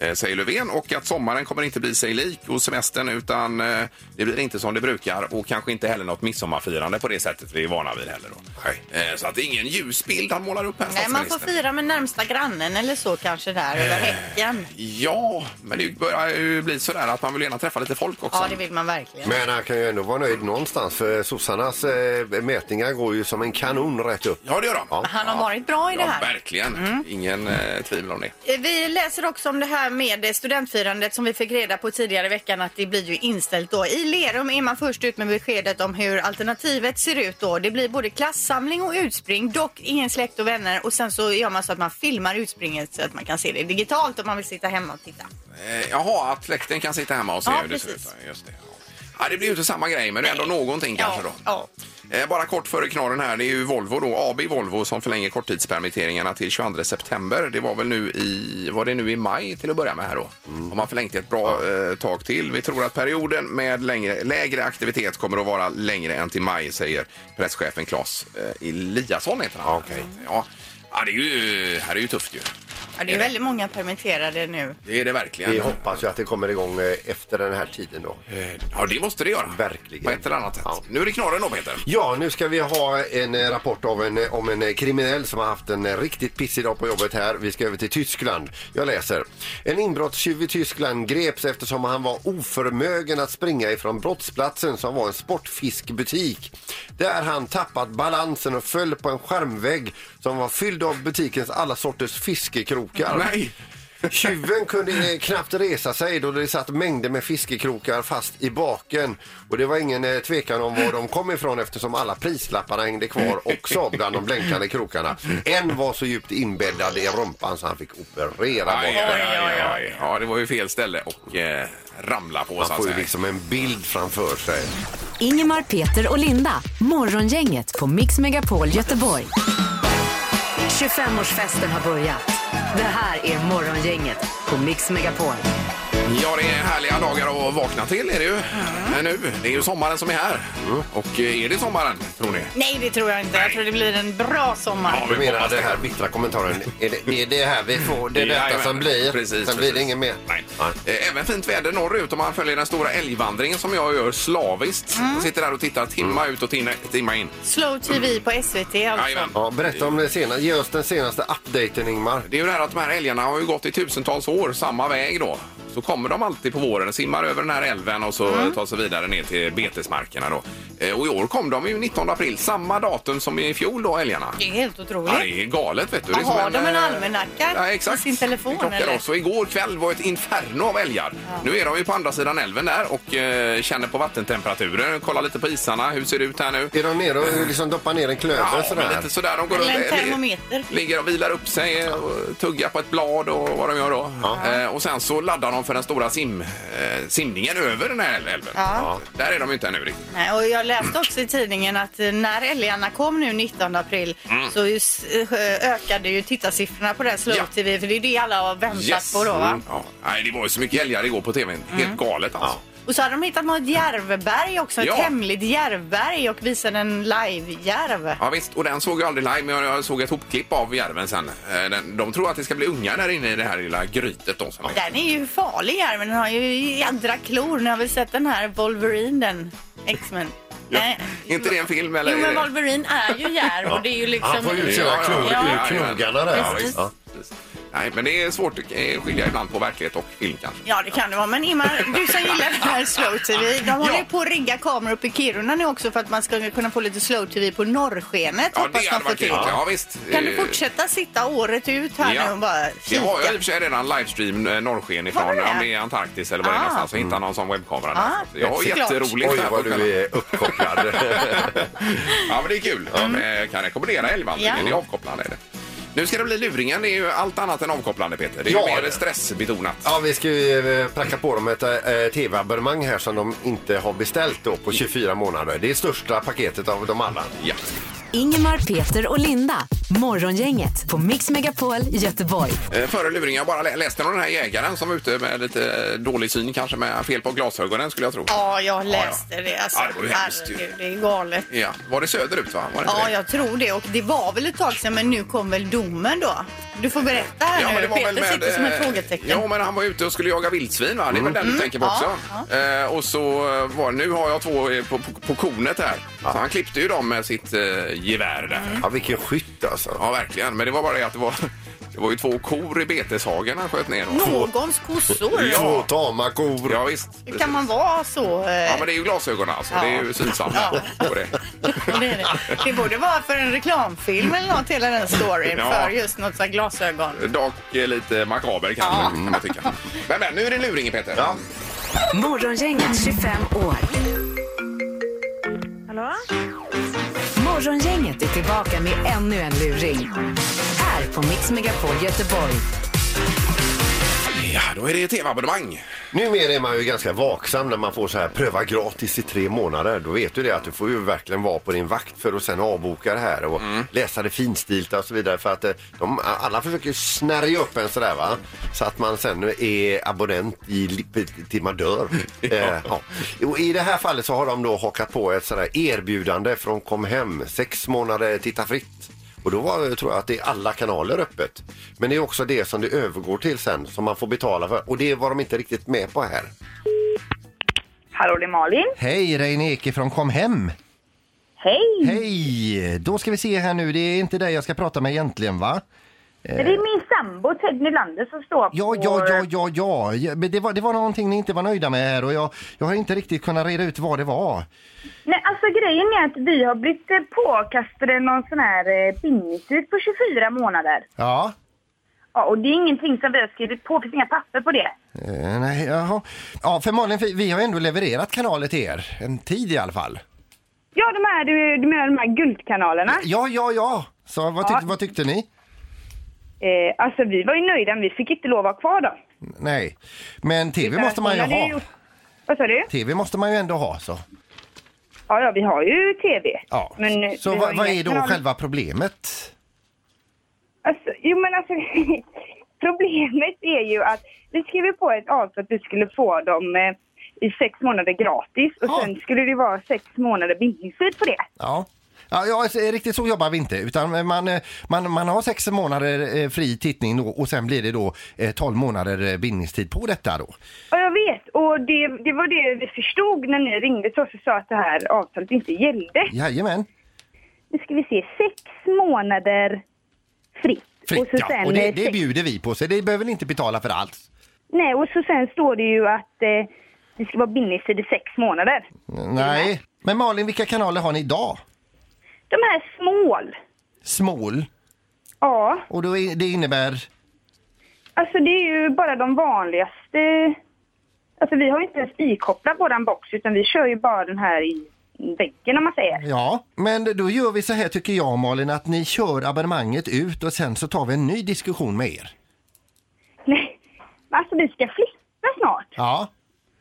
Speaker 1: eh, Säger Löfven och att sommaren kommer inte bli sig lik och semestern utan eh, det blir inte som det brukar och kanske inte heller något midsommarfirande på det sättet vi är vana vid heller. Då. Eh, Så att det är ingen ljusbild han målar upp här
Speaker 2: Nej, man får
Speaker 1: statsministern.
Speaker 2: fira med närmsta grannen eller så kanske där över häcken.
Speaker 1: Ja, men det börjar ju bli sådär att man vill gärna träffa lite folk också.
Speaker 2: Ja, det vill man verkligen.
Speaker 3: Men han kan ju ändå vara nöjd någonstans för sossarnas eh, mätningar går ju som en kanon rätt upp.
Speaker 1: Ja, det gör de.
Speaker 3: Ja.
Speaker 2: Han har varit bra i det
Speaker 1: Ja,
Speaker 2: här. Mm.
Speaker 1: verkligen. Ingen eh, tvivel om det.
Speaker 2: Eh, Vi läser också om det här med eh, studentfirandet som vi fick reda på tidigare i veckan att det blir ju inställt då. I Lerum är man först ut med beskedet om hur alternativet ser ut då. Det blir både klassamling och utspring, dock ingen släkt och vänner och sen så gör man så att man filmar utspringet så att man kan se det digitalt om man vill sitta hemma och titta.
Speaker 1: Eh, jaha, att släkten kan sitta hemma och se
Speaker 2: Ja,
Speaker 1: hur det ser ut.
Speaker 2: precis.
Speaker 1: Ja, Just det. Ja. Ja, det blir ju inte samma grej, men det är ändå någonting
Speaker 2: Ja,
Speaker 1: kanske då.
Speaker 2: ja.
Speaker 1: Eh, Bara kort före knorren här, det är ju Volvo då, AB Volvo som förlänger korttidspermitteringarna till 22 september. Det var väl nu i, var det nu i maj till att börja med här då? Har man förlängt ett bra eh, tag till. Vi tror att perioden med längre, lägre aktivitet kommer att vara längre än till maj, säger presschefen Claes eh, Eliasson heter han. Ja. ja, det är ju, här är ju tufft ju.
Speaker 2: Ja, det är väldigt många permitterade nu.
Speaker 1: Det är det verkligen.
Speaker 3: Vi hoppas ju att det kommer igång eh, efter den här tiden då.
Speaker 1: Eh, Ja, det måste det göra.
Speaker 3: Verkligen.
Speaker 1: På ett eller annat sätt.
Speaker 3: Ja.
Speaker 1: Nu är det knorren då, Peter.
Speaker 3: Ja, nu ska vi ha en eh, rapport av en, eh, om en eh, kriminell som har haft en eh, riktigt pissig dag på jobbet här. Vi ska över till Tyskland. Jag läser. En inbrottstjuv i Tyskland greps eftersom han var oförmögen att springa ifrån brottsplatsen som var en sportfiskbutik. Där han tappat balansen och föll på en skärmvägg som var fylld av butikens alla sorters fiskekrokar.
Speaker 1: Nej.
Speaker 3: Tjuven kunde eh, knappt resa sig då det satt mängder med fiskekrokar fast i baken. Och det var ingen eh, tvekan om var de kom ifrån eftersom alla prislapparna hängde kvar också bland de blänkande krokarna. En var så djupt inbäddad i rumpan så han fick operera
Speaker 1: Aj,
Speaker 3: bort.
Speaker 1: aj, aj, aj. Ja, det var ju fel ställe och eh, ramla på. så
Speaker 3: Man
Speaker 1: att
Speaker 3: får ju
Speaker 1: säga.
Speaker 3: liksom en bild framför sig.
Speaker 4: Ingemar, Peter och Linda. Morgongänget på Mix Megapol Göteborg. 25-årsfesten har börjat. Det här är Morgongänget på Mix Megapol.
Speaker 1: Ja, det är härliga dagar att vakna till är det
Speaker 3: Mm.
Speaker 1: ju. Men nu, det är ju sommaren som är här. Och eh, är det sommaren, tror ni?
Speaker 2: Nej, det tror jag inte. Jag tror det blir en bra sommar.
Speaker 3: Du menar den här bittra kommentaren, är det, det är det här vi får, det är detta
Speaker 1: Jajamän.
Speaker 3: som blir,
Speaker 1: Precis,
Speaker 3: sen blir
Speaker 1: precis.
Speaker 3: det inget mer.
Speaker 1: Nej. Eh, Även fint väder norrut om man följer den stora älgvandringen som jag gör slaviskt.
Speaker 3: Mm.
Speaker 1: Sitter där och tittar timma ut och timma, timma in.
Speaker 2: Slow TV på SVT alltså.
Speaker 1: Jajamän.
Speaker 3: Ja, berätta om det senaste, ge oss den senaste updaten Ingmar.
Speaker 1: Det är ju det här att de här älgarna har ju gått i tusentals år samma väg då. så kommer de alltid på våren, simmar över den här älven och så
Speaker 2: Mm.
Speaker 1: tar sig vidare ner till betesmarkerna. Då. Eh, Och i år kom de ju 19 april, samma datum som i fjol då, älgarna.
Speaker 2: Det är helt otroligt.
Speaker 1: Ja, det är galet vet du. Det är
Speaker 2: Ja, har de en
Speaker 1: eh,
Speaker 2: almanacka
Speaker 1: ja, exakt.
Speaker 2: i sin telefon,
Speaker 1: En klocka
Speaker 2: eller?
Speaker 1: då. Så igår kväll var ett inferno av älgar. Nu är de ju på andra sidan älven där och eh, känner på vattentemperaturen. Kollar lite på isarna. Hur ser det ut här nu?
Speaker 3: Är de nere och liksom doppar ner en klöver
Speaker 1: Ja, men
Speaker 3: sådär?
Speaker 1: lite sådär. De går
Speaker 2: Eller en
Speaker 1: runt-
Speaker 2: termometer.
Speaker 1: Ligger och vilar upp sig och tuggar på ett blad och vad de gör då. Eh, och sen så laddar de för den stora sim, eh, simningen över den här älven.
Speaker 2: Ja.
Speaker 1: Där är de ju inte ännu riktigt.
Speaker 2: Nej, och jag läste också i tidningen att eh, när älgarna kom nu 19 april så just, eh, ökade ju tittarsiffrorna på den Slow
Speaker 1: Mm. Ja.
Speaker 2: TV för det är det alla har väntat på då va? Mm.
Speaker 1: Mm, ja. Nej, det var ju så mycket älgar igår på tvn. Helt galet alltså.
Speaker 2: Och så hade de hittat något järvberg också,
Speaker 1: Ja.
Speaker 2: ett hemligt järvberg och visade en live-järv.
Speaker 1: Ja visst, och den såg jag aldrig live men jag- jag såg ett hopklipp av järven sen. Eh, Den, de tror att det ska bli unga där inne i det här lilla grytet då. Som är.
Speaker 2: Den är ju farlig järven, den har ju jädra klor. Ni har väl sett den här Wolverine, den X-Men? Nej.
Speaker 1: Är inte det en film eller?
Speaker 8: Jo, men
Speaker 1: är det-
Speaker 8: Wolverine är ju järv och det är ju liksom...
Speaker 3: Han får ut
Speaker 1: Ja,
Speaker 3: sina
Speaker 1: ja,
Speaker 3: klor
Speaker 8: ja.
Speaker 3: ur knogarna där.
Speaker 1: Ja, visst.
Speaker 3: Ja.
Speaker 1: Nej, men det är svårt att eh, skilja ibland på verklighet och film kanske.
Speaker 2: Ja, det kan det vara. Men Ingmar, du som gillar det här slow-tv, de håller
Speaker 1: Ja.
Speaker 2: ju på att rigga kameror uppe i Kiruna nu också för att man ska kunna få lite slow-tv på norrskenet.
Speaker 1: Ja,
Speaker 2: hoppas
Speaker 1: det
Speaker 2: man
Speaker 1: hade
Speaker 2: får
Speaker 1: varit kul.
Speaker 2: till.
Speaker 1: Ja, visst.
Speaker 2: Kan du
Speaker 1: Eh,
Speaker 2: fortsätta sitta året ut här nu och bara
Speaker 1: det
Speaker 2: kika?
Speaker 1: har jag i och för sig redan livestream eh, norrsken ifrån
Speaker 2: Har du det?
Speaker 1: om det är Antarktis eller var det är
Speaker 2: Ah.
Speaker 1: någonstans och hittar någon som webbkamera. där.
Speaker 2: Ah,
Speaker 1: Så jag har
Speaker 2: såklart.
Speaker 1: jätteroligt
Speaker 3: Oj,
Speaker 1: här på
Speaker 3: vad
Speaker 1: kvällen.
Speaker 3: du är uppkopplad.
Speaker 1: <laughs> Ja, men det är kul. Jag kan rekommendera älgvandringen.
Speaker 2: Ja.
Speaker 1: Det är avkopplande. Är det. Nu ska det bli luringen. Det är ju allt annat än avkopplande, Peter. Det är
Speaker 3: Ja,
Speaker 1: ju mer
Speaker 3: det.
Speaker 1: stressbetonat.
Speaker 3: Ja, vi ska ju eh, pracka på dem ett eh, tv-abonnemang här som de inte har beställt då på 24 månader. Det är största paketet av dem alla.
Speaker 1: Ja.
Speaker 4: Ingemar, Peter och Linda. Morgongänget på Mix Megapol i Göteborg.
Speaker 1: Eh, Före luringen, jag bara lä- läste om den här jägaren som var ute med lite eh, dålig syn, kanske med fel på glasögonen skulle jag tro.
Speaker 2: Ja, jag läste det. Alltså,
Speaker 1: Ja, det var ju hemskt ju.
Speaker 2: herregud, det är galet.
Speaker 1: Ja. Var det söderut? Va? Var det inte
Speaker 2: Ja,
Speaker 1: det?
Speaker 2: jag tror det. Och det var väl ett tag sedan, men nu kom väl domen då? Du får berätta här
Speaker 1: Ja, men
Speaker 2: nu.
Speaker 1: det var
Speaker 2: Peter
Speaker 1: väl med,
Speaker 2: sitter som ett
Speaker 1: eh,
Speaker 2: frågetecken. Mm.
Speaker 1: Ja, men han var ute och skulle jaga vildsvin, va? Det är väl den du tänker på också? Eh, och så eh, var nu har jag två eh, på, på, på kornet här. Så han klippte ju dem med sitt eh, gevär där.
Speaker 2: Mm.
Speaker 3: Ja, vilken skytt alltså.
Speaker 1: Ja, verkligen. Men det var bara det att det var, <laughs> det var ju två kor i beteshagen han sköt ner. då.
Speaker 2: Någons kossor.
Speaker 1: Ja.
Speaker 3: Två tama kor.
Speaker 1: Ja, visst.
Speaker 2: Hur kan man vara så? eh,
Speaker 1: Ja, men det är ju glasögonen alltså.
Speaker 2: Ja.
Speaker 1: Det är ju synsamma
Speaker 2: Ja.
Speaker 1: på det.
Speaker 2: Ja, Det, är det. det borde vara för en reklamfilm eller något, hela den storyn.
Speaker 1: Ja.
Speaker 2: För just något sånt glasögon.
Speaker 1: Dock eh, lite makaber kanske, kan man tycka. Men, men nu är det luringen, Peter.
Speaker 3: Ja.
Speaker 4: Morgongänget 25 år.
Speaker 9: Hallå?
Speaker 4: Morgongänget är tillbaka med ännu en luring. Här på Mix Megapol Göteborg.
Speaker 1: Ja, då är det tv-abonnemang.
Speaker 3: Numera är man ju ganska vaksam när man får så här pröva gratis i tre månader. Då vet du det att du får ju verkligen vara på din vakt för att sen avboka det här och läsa det finstilta och så vidare. För att eh, de, alla försöker ju snärja upp en sådär va. Så att man sen är abonnent i, li- till man dör. Eh, ja. Och I det här fallet så har de då hakat på ett sådär erbjudande från Kom Hem. Sex månader titta fritt. Och då var, tror jag att det är alla kanaler öppet. Men det är också det som det övergår till sen som man får betala för. Och det var de inte riktigt med på här.
Speaker 9: Hallå, det är Malin.
Speaker 10: Hej, Reine Eke från Kom Hem.
Speaker 9: Hej!
Speaker 10: Hej! Då ska vi se här nu, det är inte dig jag ska prata med egentligen va?
Speaker 9: Det är min sambo Ted Nylander som står
Speaker 10: Ja,
Speaker 9: på...
Speaker 10: ja, ja, ja, ja. ja. Men det, var, det var någonting ni inte var nöjda med här och jag, jag har inte riktigt kunnat reda ut vad det var.
Speaker 9: Nej, alltså grejen är att vi har blivit eh, påkastade någon sån här eh, bindningstid på 24 månader.
Speaker 10: Ja.
Speaker 9: Ja, och det är ingenting som vi har skrivit på, det finns inga papper på det.
Speaker 10: Eh, nej, jaha. Ja, för Malin, vi- vi har ju ändå levererat kanaler till er. En tid i alla fall.
Speaker 9: Ja, de här, du, du menar de här guldkanalerna?
Speaker 10: Ja, ja, ja. Så vad, tyck, vad tyckte ni?
Speaker 9: Eh, alltså vi var ju nöjda, men vi fick inte lov att vara kvar då.
Speaker 10: Nej. Men tv måste man ju
Speaker 9: Utan hon hade
Speaker 10: ha.
Speaker 9: gjort- Vad sa du?
Speaker 10: Tv måste man ju ändå ha så.
Speaker 9: Ja, ja, vi har ju tv.
Speaker 10: Ja.
Speaker 9: Men, eh,
Speaker 10: Så
Speaker 9: vi har
Speaker 10: vad,
Speaker 9: ju
Speaker 10: vad
Speaker 9: inga
Speaker 10: är då
Speaker 9: kanaler.
Speaker 10: själva problemet?
Speaker 9: Alltså, jo, men alltså <laughs> problemet är ju att vi skrev ju på ett avtal att vi skulle få dem eh, i sex månader gratis och
Speaker 10: Ja.
Speaker 9: sen skulle det vara sex månader bindningstid på det.
Speaker 10: Ja. Ja, ja, alltså, riktigt så jobbar vi inte. Utan man, eh, man, man har sex månader eh, fri tittning då, och sen blir det då eh, 12 månader eh, bindningstid på detta då.
Speaker 9: Ja, jag vet. Och det, det var det vi förstod när ni ringde till oss och sa att det här avtalet inte gällde.
Speaker 10: Jajamän.
Speaker 9: Nu ska vi se, sex månader fritt.
Speaker 10: Fritt,
Speaker 9: så
Speaker 10: ja. Och det,
Speaker 9: eh,
Speaker 10: det
Speaker 9: sex-
Speaker 10: bjuder vi på, så det behöver ni inte betala för alls.
Speaker 9: Nej, och så sen står det ju att eh, det ska vara bindningstid i sex månader.
Speaker 3: Nej. Men Malin, vilka kanaler har ni idag?
Speaker 9: De här smål,
Speaker 3: Small.
Speaker 9: ja.
Speaker 3: Och då är, det innebär...
Speaker 9: Alltså det är ju bara de vanligaste. Alltså vi har ju inte ens ikopplat våran box utan vi kör ju bara den här i väggen om man säger.
Speaker 3: Ja, men då gör vi så här tycker jag Malin att ni kör abonnemanget ut och sen så tar vi en ny diskussion med er.
Speaker 9: Nej, men alltså vi ska flytta snart
Speaker 3: Ja.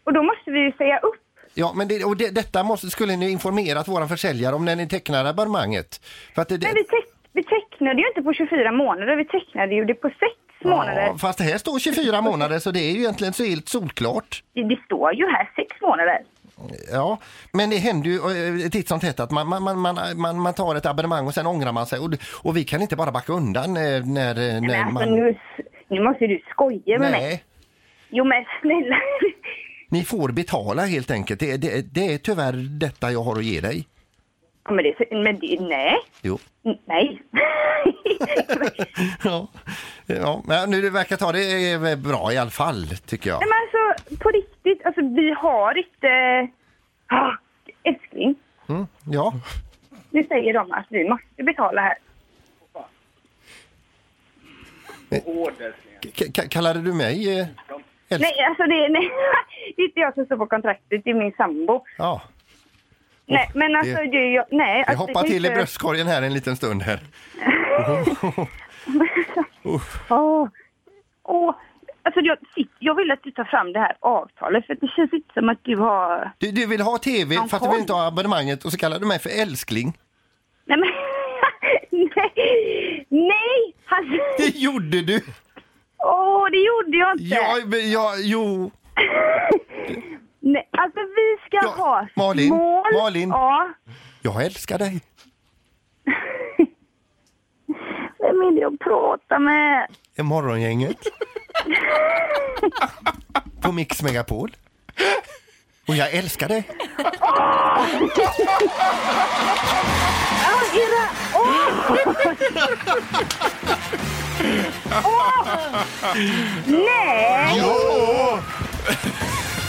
Speaker 9: och då måste vi ju säga upp.
Speaker 3: Ja, men det, och det, detta måste, skulle ni informerat våran försäljare om när ni tecknar abonnemanget. För att det,
Speaker 9: Men vi, teck, vi tecknade ju inte på 24 månader, vi tecknade ju det på sex månader.
Speaker 3: Ja, fast det här står
Speaker 9: <laughs>
Speaker 3: 24 månader så det är ju egentligen så helt solklart.
Speaker 9: Det, det står ju här sex månader.
Speaker 3: Ja, men det händer ju eh, titt som tätt att man, man, man, man, man, man tar ett abonnemang och sen ångrar man sig. Och, och vi kan inte bara backa undan eh, när, eh,
Speaker 9: Men
Speaker 3: när
Speaker 9: alltså
Speaker 3: man...
Speaker 9: nu, nu måste du skoja med mig.
Speaker 3: Nej,
Speaker 9: Jo men snälla. <laughs>
Speaker 3: ni får betala helt enkelt. Det, det, det är tyvärr detta jag har att ge dig.
Speaker 9: Ja, men det, men det, nej,
Speaker 3: Jo.
Speaker 9: nej.
Speaker 3: <laughs>
Speaker 9: <laughs>
Speaker 3: Ja, ja men nu det verkar ta det eh, bra i alla fall, tycker jag.
Speaker 9: Nej men alltså på riktigt, alltså vi har inte... Ah, älskling,
Speaker 3: Mm, ja.
Speaker 9: nu säger de att vi måste betala här.
Speaker 3: K- k- kallade du mig? eh, Älsk-
Speaker 9: Nej, alltså det, nej, <laughs> det är inte jag som står på kontraktet, det är min sambo.
Speaker 3: Ja,
Speaker 9: nej, men alltså det,
Speaker 3: det-
Speaker 9: är jag, nej.
Speaker 3: jag
Speaker 9: alltså,
Speaker 3: hoppar
Speaker 9: det kan
Speaker 3: till i
Speaker 9: inte- <laughs>
Speaker 3: bröstkorgen här en liten stund här.
Speaker 9: Åh, åh. Alltså jag, shit, jag vill att du tar fram det här avtalet för att det känns inte som att du har...
Speaker 3: Du, du vill ha tv
Speaker 9: Han
Speaker 3: fast du
Speaker 9: kom.
Speaker 3: vill inte ha abonnemanget och så kallar du mig för älskling. <laughs>
Speaker 9: Nej men... <laughs> nej! Nej! Alltså,
Speaker 3: Det gjorde du!
Speaker 9: åh, det gjorde jag inte!
Speaker 3: Ja, men jag, jo.
Speaker 9: Nej, alltså vi ska
Speaker 3: Ja,
Speaker 9: ha
Speaker 3: Malin,
Speaker 9: mål.
Speaker 3: Malin.
Speaker 9: Ja,
Speaker 3: Jag älskar dig.
Speaker 9: vem vill jag prata med?
Speaker 3: I morgongänget.
Speaker 9: <laughs>
Speaker 3: På Mix Megapol. Och jag älskar dig.
Speaker 9: Ja, era...
Speaker 1: <laughs>
Speaker 9: Åh! Åh! Nej!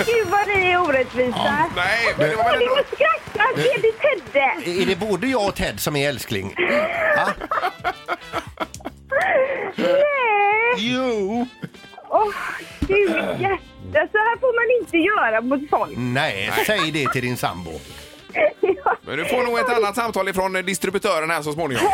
Speaker 9: Gud vad ni är orättvisa!
Speaker 1: Nej, men det var
Speaker 9: Åh,
Speaker 1: väl
Speaker 9: ni
Speaker 1: ändå...
Speaker 9: måste skratta! Det är det Tedde!
Speaker 3: Eh, Är det både jag och Ted som är älskling? Ja.
Speaker 9: Nej!
Speaker 3: Jo!
Speaker 9: Åh, Gud, mitt hjärta! Så här får man inte göra mot folk.
Speaker 3: Nej, säg det till din sambo.
Speaker 1: Mm. Men du får nog ett annat samtal ifrån distributören här så småningom.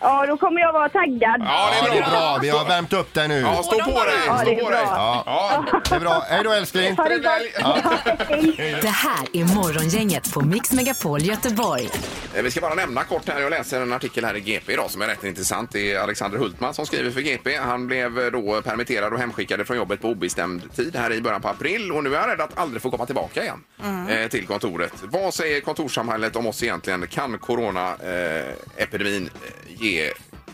Speaker 9: Ja, då kommer jag vara taggad.
Speaker 1: Ja, det
Speaker 3: Ja, det
Speaker 1: är bra.
Speaker 3: är bra. Vi har värmt upp dig nu.
Speaker 1: Ja, stå på dig!
Speaker 9: Ja, det
Speaker 1: Stå
Speaker 9: är
Speaker 1: på
Speaker 9: bra.
Speaker 1: dig!
Speaker 3: Ja. Det är bra. Hej då älskling!
Speaker 9: Ha det gott! Hej.
Speaker 4: Det här är Morgongänget på Mix Megapol Göteborg.
Speaker 1: Eh, Vi ska bara nämna kort här, jag läser en artikel här i GP idag som är rätt intressant. Det är Alexander Hultman som skriver för GP. Han blev eh, då permitterad och hemskickad från jobbet på obestämd tid här i början på april och nu är han rädd att aldrig få komma tillbaka igen eh, till kontoret. Vad säger kontorssamhället om oss egentligen? Kan coronaepidemin eh, ge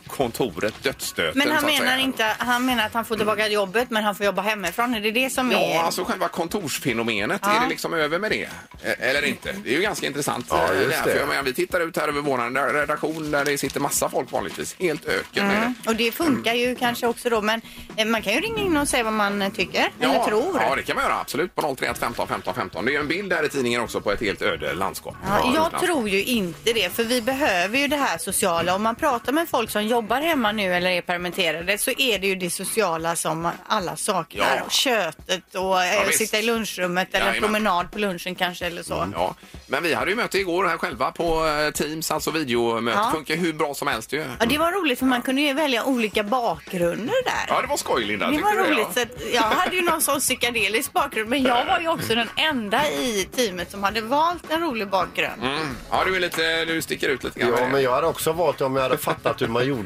Speaker 1: kontoret dödsstöten?
Speaker 2: Men han
Speaker 1: så att
Speaker 2: menar,
Speaker 1: säga?
Speaker 2: inte, han menar att han får tillbaka jobbet men han får jobba hemifrån. Är det det som är...
Speaker 1: Ja, alltså själva kontorsfenomenet, är det liksom över med det? E- Eller inte? Det är ju ganska intressant.
Speaker 11: Ja, just
Speaker 1: eh, här,
Speaker 11: det.
Speaker 1: För jag menar, vi tittar ut här över vår redaktion där det sitter massa folk vanligtvis. Helt öken med det.
Speaker 2: Och det funkar ju kanske också då men eh, man kan ju ringa in och säga vad man eh, tycker eller tror.
Speaker 1: ja, det kan man göra. Absolut. På 031 15 15 15. Det är ju en bild där i tidningen också på ett helt öde landskap.
Speaker 2: Ja, jag
Speaker 1: Utan-
Speaker 2: tror ju inte det, för vi behöver ju det här sociala. Om man pratar med folk som jobbar hemma nu eller är permitterade så är det ju det sociala som alla saknar.
Speaker 1: Ja.
Speaker 2: Och kötet och eh,
Speaker 1: visst.
Speaker 2: sitta i lunchrummet eller
Speaker 1: Jajamän. Mm.
Speaker 2: en promenad på lunchen kanske eller så.
Speaker 1: Ja, men vi hade ju möte igår här själva på eh, Teams, alltså videomöte.
Speaker 2: Ja.
Speaker 1: Funkar hur bra som helst ju.
Speaker 2: Ja, det var roligt för man kunde ju välja olika bakgrunder där.
Speaker 1: Ja, det var skoj Linda.
Speaker 2: Det
Speaker 1: Tyckte
Speaker 2: var
Speaker 1: du
Speaker 2: roligt. Så
Speaker 1: Ja.
Speaker 2: att jag hade ju någon sån psykedelisk bakgrund men jag var ju också den enda i teamet som hade valt en rolig bakgrund.
Speaker 1: Mm. Ja, du, är lite, du sticker ut lite grann.
Speaker 11: Ja,
Speaker 1: med det.
Speaker 11: men jag hade också valt om jag hade fattat hur man gjorde.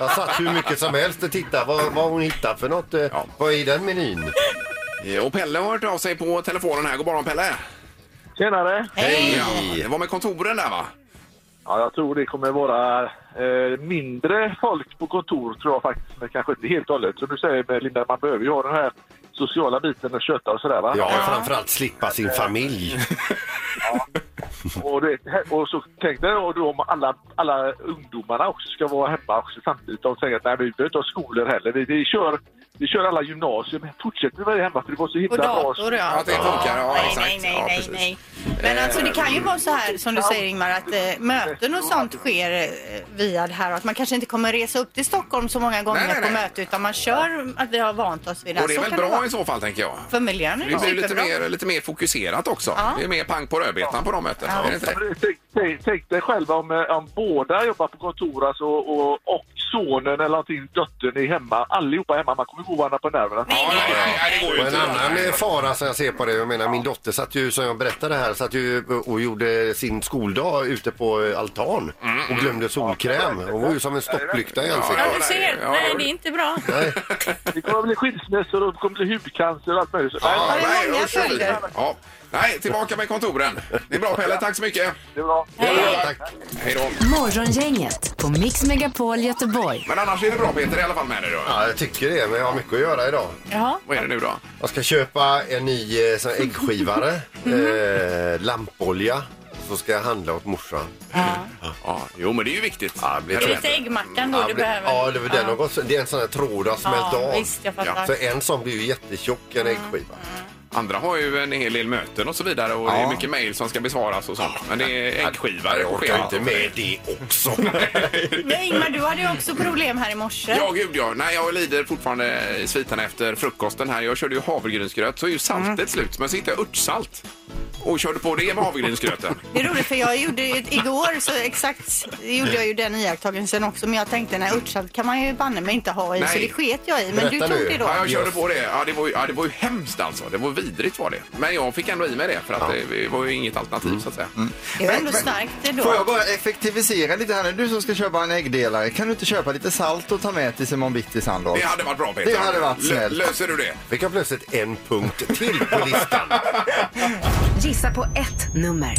Speaker 11: Jag satt hur mycket som helst och tittade vad, vad hon hittar för något. eh,
Speaker 1: Ja.
Speaker 11: Vad är i den menyn?
Speaker 1: Eh, Och Pelle har hört av sig på telefonen här. God morgon Pelle!
Speaker 5: Tjenare!
Speaker 2: Hej!
Speaker 1: Ja, det var med kontoren där va?
Speaker 5: Ja, jag tror det kommer vara eh, mindre folk på kontor, tror jag faktiskt. Men kanske inte helt och hållet. Som du säger eh, Linda, man behöver ju ha den här sociala biten och köta och sådär va?
Speaker 11: Ja, framförallt slippa sin familj.
Speaker 5: Och, du vet, he- och så tänkte jag då om alla, alla ungdomarna också ska vara hemma också samtidigt. De säger att nej, vi behöver inte ha skolor heller. Vi, vi kör
Speaker 6: Det kör alla gymnasier, men fortsätt med det hemma för det var så himla
Speaker 2: Och
Speaker 6: bra.
Speaker 2: dator, ja.
Speaker 1: Att det funkar, ja,
Speaker 2: nej,
Speaker 1: exakt.
Speaker 2: nej, nej,
Speaker 1: Ja,
Speaker 2: nej,
Speaker 1: precis.
Speaker 2: nej. Men
Speaker 1: Eh,
Speaker 2: alltså det kan ju vara så här som du säger Ingmar att eh, möten och sånt sker eh, via det här och att man kanske inte kommer resa upp till Stockholm så många gånger
Speaker 1: Nej, nej,
Speaker 2: på
Speaker 1: nej.
Speaker 2: möte utan man kör att vi har vant oss vid det. här.
Speaker 1: Och det är
Speaker 2: Så
Speaker 1: väl
Speaker 2: kan vara.
Speaker 1: bra i så fall, tänker jag.
Speaker 2: För miljön är
Speaker 1: Det
Speaker 2: det
Speaker 1: blir lite
Speaker 2: superbra.
Speaker 1: mer, lite mer fokuserat också.
Speaker 2: Ja.
Speaker 1: Det är mer pang på rödbetan på de mötena. Är det inte
Speaker 6: Ja,
Speaker 1: det?
Speaker 6: men Tänk, tänk, tänk dig själv om, eh, om båda jobbar på kontor alltså, och, och sonen eller någonting, dottern är hemma. Allihopa är hemma. Man kommer gå varandra på nerverna.
Speaker 1: Ja, nej, nej, nej, det går ju
Speaker 3: Och en
Speaker 1: inte. <laughs>
Speaker 3: annan eh, fara som jag ser på det, jag menar min dotter satt ju som jag berättade här, satt ju och gjorde sin skoldag ute på eh, altan
Speaker 1: Mm.
Speaker 3: och glömde solkräm. Hon var ju som en stopplykta i ansiktet.
Speaker 8: Ja, du ser.
Speaker 1: Ja,
Speaker 8: Nej,
Speaker 1: ja.
Speaker 8: det är inte bra.
Speaker 6: Det kommer bli skilsmässor och det kommer bli hudcancer och allt möjligt.
Speaker 1: Ja,
Speaker 2: det är
Speaker 1: nej, usch
Speaker 2: många
Speaker 1: och fy.
Speaker 2: följder.
Speaker 1: Ja. Nej, tillbaka med kontoren. Det är bra Pelle, tack så mycket.
Speaker 6: Det är bra.
Speaker 1: Hej då.
Speaker 4: Morgongänget på Mix Megapol Göteborg.
Speaker 1: Men annars är det bra Peter i alla fall med dig då.
Speaker 3: Ja, jag tycker det, men jag har mycket att göra idag.
Speaker 2: Ja.
Speaker 1: Vad är det nu då?
Speaker 3: Jag ska köpa en ny eh, sån här äggskivare, eh, lampolja, så ska jag handla åt morsan.
Speaker 1: Ja, jo, men det är ju viktigt.
Speaker 3: Ja, det blir
Speaker 8: Det är
Speaker 3: trött.
Speaker 8: lite äggmackan då
Speaker 3: Ja,
Speaker 8: du
Speaker 3: men-
Speaker 8: behöver.
Speaker 3: Ja, det, var den har gått, det är en sån här tråd som smält
Speaker 8: Ja,
Speaker 3: av.
Speaker 8: visst, jag fattar.
Speaker 3: Så en sån blir ju jättetjock, en äggskiva.
Speaker 1: Andra har ju en hel del möten och så vidare och det är mycket mejl som ska besvaras och sånt. Men det är äggskivor
Speaker 3: Jag
Speaker 1: på
Speaker 3: orkar ju
Speaker 1: schemat.
Speaker 3: inte med det också.
Speaker 2: Men Ingmar, du hade ju också problem här i morse.
Speaker 1: Ja, gud ja. Nej, jag lider fortfarande i sviterna efter frukosten här. Jag körde ju havregrynsgröt så är ju saltet
Speaker 7: Mm.
Speaker 1: slut. Men så hittade jag örtsalt och körde på det med
Speaker 7: <laughs>
Speaker 1: havregrynsgröten.
Speaker 2: Det är roligt för jag gjorde ju- igår så exakt gjorde jag ju den iakttagelsen också men jag tänkte nej örtsalt kan man ju banne mig inte ha i så
Speaker 1: Nej.
Speaker 2: det sket jag i. Men
Speaker 3: Berätta
Speaker 2: du tog
Speaker 3: nu.
Speaker 2: det då.
Speaker 1: Ja, jag körde på det. Ja, det, var ju, ja, det var ju hemskt alltså. Det var vidrigt var det. Men jag fick ändå i mig det för att det, det var ju inget alternativ
Speaker 7: Mm.
Speaker 1: så att säga.
Speaker 2: Det var ändå starkt ändå.
Speaker 7: Får jag bara effektivisera lite här nu? Du som ska köpa en äggdelare, kan du inte köpa lite salt och ta med till Simon Bittis handlag?
Speaker 1: Det hade varit bra Peter.
Speaker 7: Det hade varit
Speaker 1: Lö-
Speaker 7: snällt.
Speaker 1: Löser du det?
Speaker 3: Fick jag plötsligt en punkt till på listan.
Speaker 4: Gissa på ett nummer.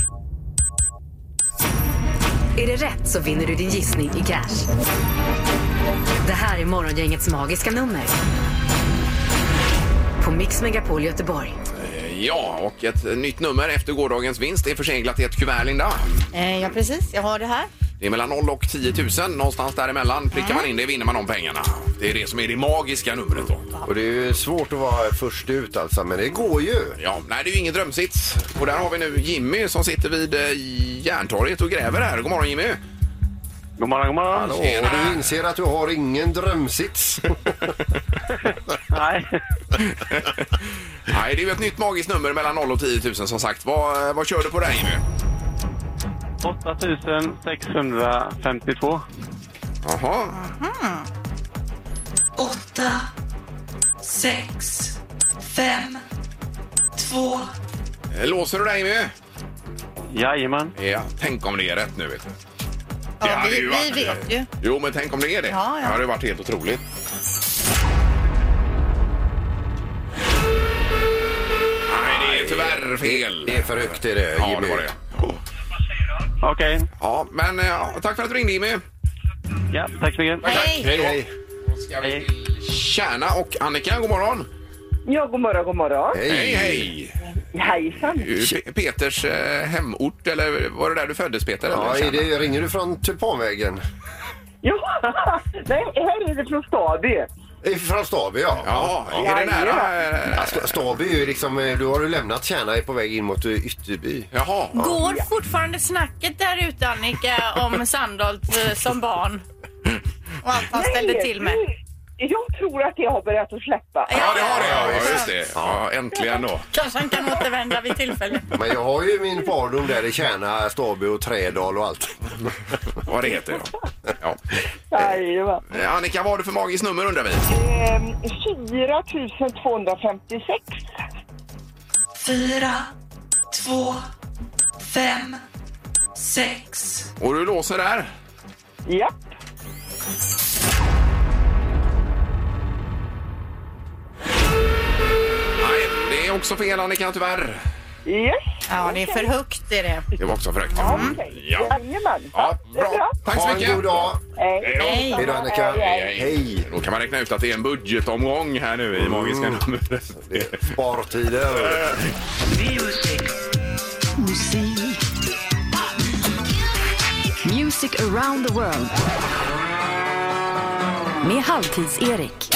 Speaker 4: Är det rätt så vinner du din gissning i cash. Det här är Morgongängets magiska nummer. På Mix Megapol Göteborg.
Speaker 1: Ja, och ett nytt nummer efter gårdagens vinst är förseglat i ett kuvert, Linda.
Speaker 2: Eh, ja precis, jag har det här.
Speaker 1: Det är mellan 0 och 10 000, någonstans däremellan.
Speaker 7: Mm.
Speaker 1: Prickar man in det vinner man de pengarna. Det är det som är det magiska numret då.
Speaker 3: Och det är ju svårt att vara först ut alltså, men det går ju.
Speaker 1: Ja, nej, det är ju ingen drömsits. Och där har vi nu Jimmy som sitter vid eh, Järntorget och gräver här. God morgon Jimmy!
Speaker 6: God morgon, god morgon.
Speaker 3: Och du inser att du har ingen drömsits.
Speaker 6: Nej.
Speaker 1: Nej, det är ju ett nytt magiskt nummer mellan 0 och 10 000 som sagt. Vad, vad kör du på där Jimmy?
Speaker 6: 8652.
Speaker 1: Jaha.
Speaker 12: åtta, sex, fem, två.
Speaker 1: Eh, Låser du där Jimmy?
Speaker 6: Jajamän.
Speaker 1: Ja, tänk om det är rätt nu vet du.
Speaker 2: Ja,
Speaker 1: Det hade
Speaker 2: vi,
Speaker 1: ju
Speaker 2: vi
Speaker 1: varit-
Speaker 2: vet ju.
Speaker 1: Jo, men tänk om det är det.
Speaker 2: Ja, ja.
Speaker 1: Det hade ju varit helt otroligt. Nej, det är tyvärr fel.
Speaker 3: Det är för högt är det,
Speaker 1: Ja,
Speaker 3: Jimmy.
Speaker 1: det var det.
Speaker 6: Okej.
Speaker 1: Ja, men eh, ja, tack för att du ringde Jimmy.
Speaker 6: Ja, tack så mycket.
Speaker 2: Hej!
Speaker 1: Hej, hej. Då ska vi
Speaker 6: Hej.
Speaker 1: till Kärna och Annika, god morgon.
Speaker 9: Ja, god morgon, god morgon.
Speaker 1: Hej, hej.
Speaker 9: Hejsan.
Speaker 1: Du, Pe- Peters eh, hemort, eller var det där du föddes Peter?
Speaker 3: Ja,
Speaker 1: eller? Kärna?
Speaker 3: är det, ringer du från Tulpanvägen?
Speaker 9: Ja, <laughs> nej, här är det från Stabi.
Speaker 3: Eh, Från Staby, ja.
Speaker 1: Ja, är det nära? eh,
Speaker 3: Ja, Sta- Staby är ju liksom, eh, du har du lämnat Kärna är på väg in mot eh, Ytterby.
Speaker 1: Jaha.
Speaker 8: Går fortfarande snacket där ute Annika
Speaker 1: <laughs>
Speaker 8: om Sandholt eh, som barn?
Speaker 2: Och allt han ställde till med.
Speaker 9: Jag tror att det har börjat att släppa.
Speaker 1: Ja, det har det. Ja, just det. Ja, äntligen då.
Speaker 8: Kanske han kan återvända vid tillfälle.
Speaker 3: Men jag har ju min barndom där i Kärna, Staby och Trädal och allt.
Speaker 1: Vad det heter, ja. ja.
Speaker 9: Jajamän.
Speaker 1: Eh, Annika, vad har du för magiskt nummer undrar vi?
Speaker 9: Ehm, 4256.
Speaker 12: Fyra, två, fem, sex.
Speaker 1: Och du låser där?
Speaker 9: Japp.
Speaker 1: Nej, det är också fel Annika, tyvärr.
Speaker 9: Yes.
Speaker 2: Ja, det är för högt är det.
Speaker 1: Det var också för högt.
Speaker 9: Ja,
Speaker 1: Mm.
Speaker 9: Okej.
Speaker 1: Ja.
Speaker 9: Jajamän. Eh.
Speaker 1: ja,
Speaker 9: det är
Speaker 1: bra. Tack så
Speaker 3: Ha
Speaker 1: mycket.
Speaker 3: en god dag.
Speaker 9: Hej.
Speaker 1: Hej
Speaker 3: Hej då Annika.
Speaker 1: Hej. Då kan man räkna ut att det är en budgetomgång här nu
Speaker 7: Mm.
Speaker 1: i magiska numret.
Speaker 3: Spartider.
Speaker 4: Music around the world. Med Halvtids-Erik.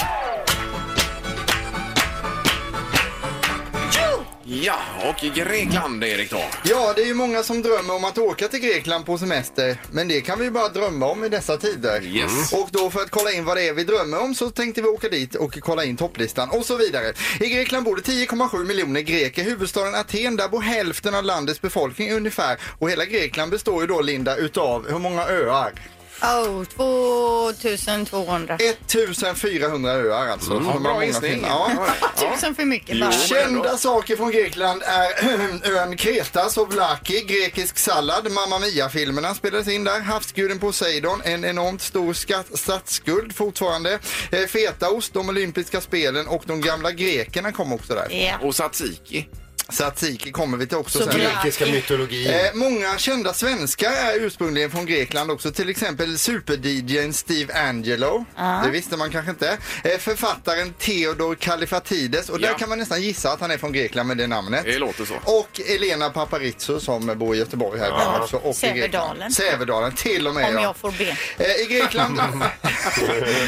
Speaker 1: Ja, och i Grekland Erik då?
Speaker 7: Ja, det är ju många som drömmer om att åka till Grekland på semester, men det kan vi ju bara drömma om i dessa tider.
Speaker 1: Yes.
Speaker 2: Mm.
Speaker 7: Och då för att kolla in vad det är vi drömmer om så tänkte vi åka dit och kolla in topplistan och så vidare. I Grekland bor det 10,7 miljoner greker. Huvudstaden Aten, där bor hälften av landets befolkning ungefär. Och hela Grekland består ju då, Linda, utav hur många öar?
Speaker 2: Oh, 2200.
Speaker 7: 1400 öar alltså.
Speaker 2: Mm,
Speaker 7: Så
Speaker 2: bra
Speaker 7: man har många
Speaker 2: gissning.
Speaker 7: fin- Ja.
Speaker 2: Tusen för mycket bara.
Speaker 7: Kända saker från Grekland är <clears throat> ön Kreta, Sovlaki, grekisk sallad, Mamma Mia-filmerna spelades in där, havsguden Poseidon, en enormt stor skatt, statsskuld fortfarande, eh, fetaost, de olympiska spelen och de gamla grekerna kom också där.
Speaker 1: Ja. Och tzatziki.
Speaker 7: Tzatziki kommer vi till också
Speaker 3: Så
Speaker 7: sen.
Speaker 3: grekiska mytologin.
Speaker 7: Eh, många kända svenskar är ursprungligen från Grekland också. Till exempel super Steve Angelo.
Speaker 12: Ja.
Speaker 7: Det visste man kanske inte. Eh, författaren Theodor Kalifatides. Och där
Speaker 1: Ja.
Speaker 7: kan man nästan gissa att han är från Grekland med det namnet.
Speaker 1: Det låter så.
Speaker 7: Och Elena Paparizou som bor i Göteborg här
Speaker 1: Ja.
Speaker 7: ja. också. Och i
Speaker 2: Sävedalen.
Speaker 7: Grekland. Sävedalen. Till och med.
Speaker 2: Om
Speaker 7: ja.
Speaker 2: jag får be.
Speaker 7: Eh, I Grekland, <laughs>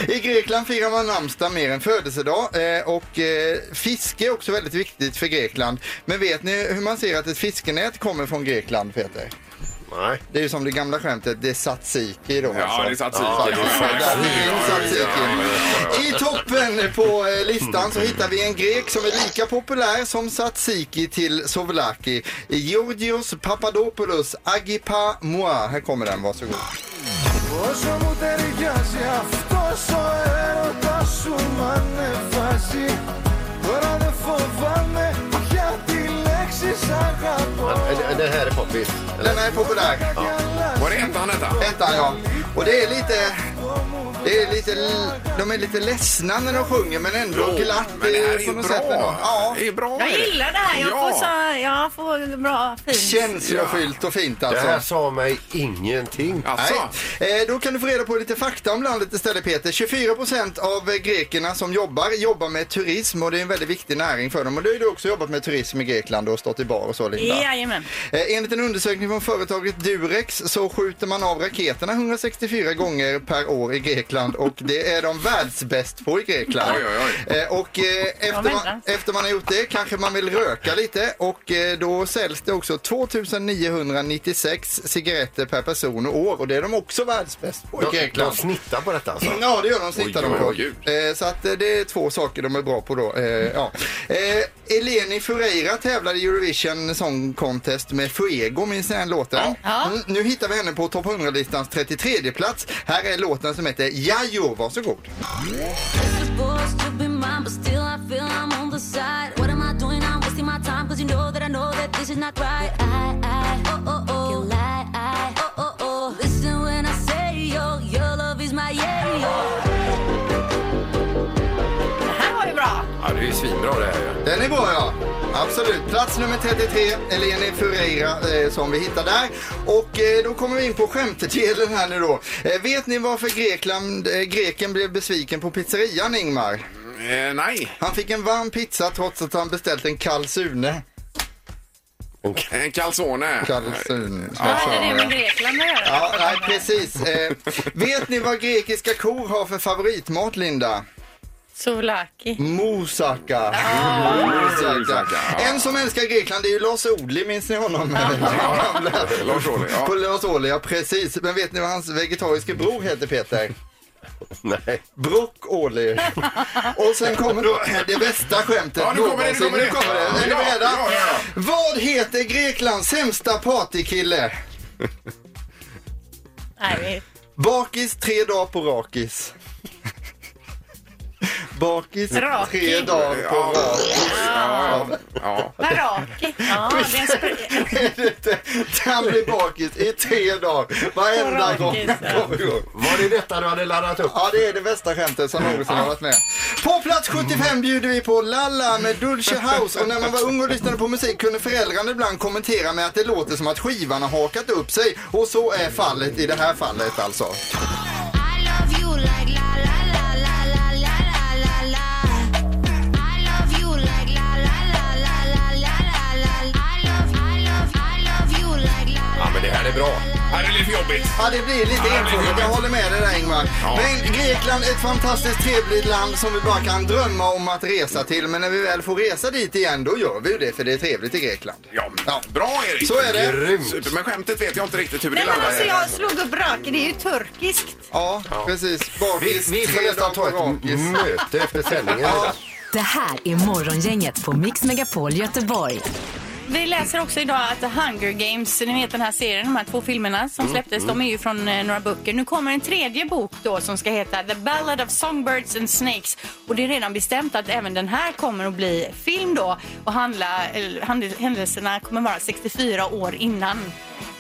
Speaker 7: I Grekland firar man namnsdag mer än födelsedag eh, och eh, fiske är också väldigt viktigt för Grekland. Men vet ni hur man ser att ett fiskenät kommer från Grekland, Peter?
Speaker 3: Nej.
Speaker 7: Det är ju som det gamla skämtet, det är tzatziki då. alltså.
Speaker 1: Ja, det är tzatziki.
Speaker 7: Ja, det är
Speaker 1: Ja, ja, ja, ja, ja,
Speaker 7: tzatziki.
Speaker 1: ja, ja, ja.
Speaker 7: I toppen på eh, listan så hittar vi en grek som är lika populär som tzatziki till souvlaki. Georgios Papadopoulos Agipa Moa. Här kommer den, varsågod.
Speaker 12: Όσο μου ταιριάζει αυτός ο έρωτας σου μ' ανεβάζει Τώρα δεν φοβάμαι πια τη λέξη σ' αγαπώ
Speaker 3: Det här är poppis.
Speaker 7: Den här är populär.
Speaker 1: Var det ettan detta?
Speaker 7: Ettan ja. Och det är lite... Det är lite, de är lite ledsna när de sjunger men ändå
Speaker 1: Jo,
Speaker 7: glatt
Speaker 1: men det här
Speaker 7: eh,
Speaker 1: är ju
Speaker 7: på något
Speaker 1: bra.
Speaker 7: sätt ändå. Ja.
Speaker 1: Det är bra.
Speaker 8: Jag gillar det här. Jag,
Speaker 1: Ja.
Speaker 8: får, så, jag får bra fint.
Speaker 7: Känslofyllt och fint
Speaker 3: Det
Speaker 7: alltså.
Speaker 3: här sa mig ingenting.
Speaker 1: Alltså.
Speaker 7: Nej. Eh, Då kan du få reda på lite fakta om landet istället Peter. 24 procent av eh, grekerna som jobbar jobbar med turism och det är en väldigt viktig näring för dem. Och du har ju också jobbat med turism i Grekland och stått i bar och så Linda.
Speaker 8: Jajamän.
Speaker 7: Eh, Enligt en undersökning från företaget Durex så skjuter man av raketerna 164 gånger per år i Grekland och det är de världsbäst på i Grekland.
Speaker 1: Oj, oj, oj.
Speaker 7: Eh, Och eh, efter man, efter man har gjort det kanske man vill röka lite och eh, då säljs det också 2996 cigaretter per person och år och det är de också världsbäst på i
Speaker 3: De,
Speaker 7: Grekland.
Speaker 3: de snittar på detta alltså?
Speaker 7: Ja, det gör de. Snittar
Speaker 3: Oj,
Speaker 7: de
Speaker 3: oj, oj.
Speaker 7: på. Eh, Så att eh, det är två saker de är bra på då. Eh, ja. eh, Eleni Ferreira tävlade i Eurovision Song Contest med Fuego, minns ni den låten? Mm, nu hittar vi henne på topp 100-listans 33 plats. Här är låten som heter Jajo, varsågod.
Speaker 13: supposed to be mine, but still I feel I'm on the side. What am I doing? I'm wasting my time, cause you know that I know that this is not right. I, I, oh, oh, oh, you lie, I, oh, oh, oh. Listen when I say, yo, your love is my yeah, yo.
Speaker 8: här var ju bra.
Speaker 1: Ja, det är ju svinbra det här ju.
Speaker 7: Den är bra ja. Absolut. Plats nummer 33, Eleni Ferreira eh, som vi hittar där. Och eh, då kommer vi in på skämtdelen här nu då. Eh, vet ni varför Grekland, eh, greken blev besviken på pizzerian Ingmar?
Speaker 1: Eh, nej.
Speaker 7: Han fick en varm pizza trots att han beställt en kall Sune.
Speaker 1: En calzone.
Speaker 7: Calzone.
Speaker 8: Vad hade det med Grekland att göra?
Speaker 7: Ja, nej, precis. Eh, vet ni vad grekiska kor har för favoritmat, Linda?
Speaker 8: Souvlaki.
Speaker 7: Moussaka.
Speaker 8: Ah.
Speaker 7: Moussaka. En som älskar Grekland det är ju Lars Ohly, minns ni honom?
Speaker 1: Lars Ohly, ja.
Speaker 7: På Lars Ohly, ja precis. Men vet ni vad hans vegetariske bror
Speaker 1: <laughs>
Speaker 7: heter Peter?
Speaker 3: Nej.
Speaker 7: Brock Ohly. Och sen kommer då det bästa skämtet
Speaker 1: Ja, nu kommer det, nu
Speaker 7: någonsin.
Speaker 1: kommer det.
Speaker 7: Nu kommer det. Är
Speaker 1: Ja,
Speaker 7: ni beredda?
Speaker 1: ja, ja, ja.
Speaker 7: Vad heter Greklands sämsta partykille?
Speaker 8: Nej, vi-
Speaker 7: Bakis tre dagar på rakis. Bakis
Speaker 8: Rakig.
Speaker 7: tre dagar på
Speaker 1: Ja.
Speaker 7: rakis. <laughs>
Speaker 1: Ja, ja, ja.
Speaker 8: Baraki. Ja, det är en spr-
Speaker 7: Han blir bakis i tre dagar. Varenda
Speaker 8: Rakis,
Speaker 7: gång han
Speaker 8: ja.
Speaker 7: kommer igång.
Speaker 3: Var det detta du hade laddat upp?
Speaker 7: Ja, det är det bästa skämtet som någonsin har varit med. På plats 75 bjuder vi på Lalla med Dulce House. Och när man var ung och lyssnade på musik kunde föräldrarna ibland kommentera med att det låter som att skivan har hakat upp sig. Och så är fallet i det här fallet alltså.
Speaker 13: I love you like la la la la la la la la la. I love you like la la la la la la la la. I love, I love, I love you like la la.
Speaker 1: men det här är bra. Det här är lite jobbigt.
Speaker 7: Ja, det blir lite enformigt. Jag håller med dig där Ingvar. Men Grekland är ett fantastiskt trevligt land som vi bara kan drömma om att resa till. Men när vi väl får resa dit igen, då gör vi ju det för det är trevligt i Grekland.
Speaker 1: Ja, bra Erik!
Speaker 7: Så är det.
Speaker 1: Grymt. Super, men skämtet vet jag inte riktigt hur det
Speaker 2: Nej men
Speaker 1: landar.
Speaker 2: alltså jag slog upp raken, det är ju turkiskt.
Speaker 7: Ja, precis. Bakis,
Speaker 3: vi, vi får
Speaker 7: tre
Speaker 3: nästan ta
Speaker 7: dagar
Speaker 3: ett
Speaker 7: bakis.
Speaker 3: möte efter sändningen.
Speaker 7: Ja.
Speaker 4: Det här är Morgongänget på Mix Megapol Göteborg.
Speaker 8: Vi läser också idag att The Hunger Games, ni vet den här serien, de här två filmerna som
Speaker 4: Mm,
Speaker 8: släpptes,
Speaker 4: mm.
Speaker 8: de är ju från eh, några böcker. Nu kommer en tredje bok då som ska heta The Ballad of Songbirds and Snakes. Och det är redan bestämt att även den här kommer att bli film då och handla, eller, handel- händelserna kommer vara 64 år innan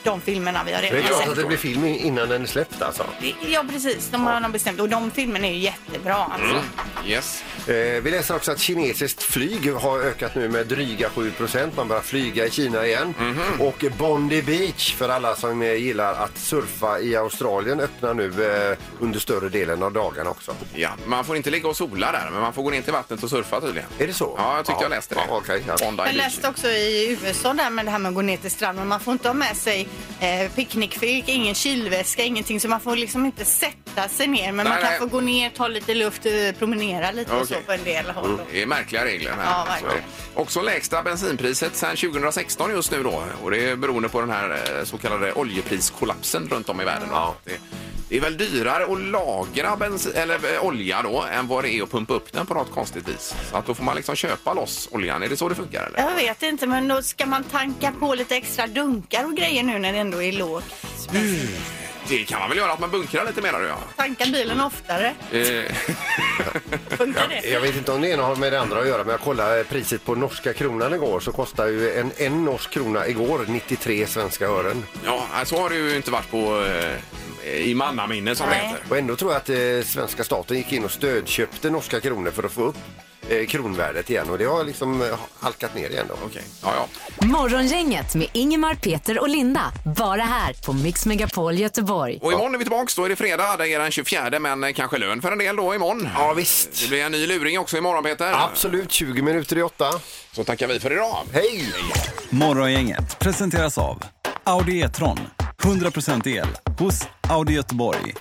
Speaker 8: de filmerna vi har
Speaker 3: Det
Speaker 8: redan
Speaker 3: är klart
Speaker 8: sett.
Speaker 3: att det blir film innan den är släppt alltså.
Speaker 8: Ja precis, de har de bestämt och de filmerna är ju jättebra alltså.
Speaker 3: Mm.
Speaker 1: Yes.
Speaker 3: Eh, vi läser också att kinesiskt flyg har ökat nu med dryga 7 Man börjar flyga i Kina igen.
Speaker 1: Mhm.
Speaker 3: Och Bondi Beach för alla som eh, gillar att surfa i Australien öppnar nu eh, under större delen av dagen också.
Speaker 1: Ja, man får inte ligga och sola där, men man får gå ner till vattnet och surfa tydligen.
Speaker 3: Är det så?
Speaker 1: Ja, jag tyckte jag läste det.
Speaker 3: Ja, okej, ja.
Speaker 1: Bondi
Speaker 2: Jag
Speaker 1: Beach.
Speaker 2: läste också i USA där med det här med att gå ner till stranden. Man får inte ha med sig eh, picknickfilt, ingen kylväska, ingenting. Så man får liksom inte sätta sig ner. Men man
Speaker 1: Nej,
Speaker 2: kan
Speaker 1: nej.
Speaker 2: få gå ner, ta lite luft, eh, promenera lite och så
Speaker 1: Okej.
Speaker 2: på en del håll.
Speaker 1: Mm. Det är märkliga regler här.
Speaker 2: Ja, verkligen.
Speaker 1: Så är det. Också lägsta bensinpriset sedan 2016 just nu då. Och det är beroende på den här eh, så kallade oljepriskollapsen runt om i världen. Det, det är väl dyrare att lagra bensin, eller eh, olja då än vad det är att pumpa upp den på något konstigt vis. Så att då får man liksom köpa loss oljan. Är det så det funkar eller?
Speaker 2: Jag vet inte, men då ska man tanka på lite extra dunkar och grejer nu när det ändå är lågt.
Speaker 1: Mm. Det kan man väl göra att man bunkrar lite mer då
Speaker 2: <laughs>
Speaker 1: ja.
Speaker 2: Tanka bilen oftare.
Speaker 1: Eh,
Speaker 2: Funkar det?
Speaker 3: Jag vet inte om det ena har med det andra att göra men jag kollade priset på norska kronan igår så kostar ju en, en norsk krona igår 93 svenska ören.
Speaker 1: ja, så har det ju inte varit på eh, i mannaminne som det heter.
Speaker 3: Och ändå tror jag att eh, svenska staten gick in och stödköpte norska kronor för att få upp eh, kronvärdet igen och det har liksom eh, halkat ner igen då.
Speaker 1: Okej, ja ja.
Speaker 4: Morgongänget med Ingemar, Peter och Linda. Bara här på Mix Megapol Göteborg.
Speaker 1: Och imorgon är vi tillbaka, då är det fredag, det är den 24 men eh, kanske lön för en del då imorgon.
Speaker 3: Ja visst.
Speaker 1: Det blir en ny luring också imorgon Peter.
Speaker 3: Absolut, 20 minuter i åtta.
Speaker 1: Så tackar vi för idag.
Speaker 3: Hej!
Speaker 14: Morgongänget presenteras av Audi E-tron. 100% el hos Audi Göteborg.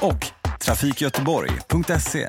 Speaker 14: Och trafikgöteborg.se.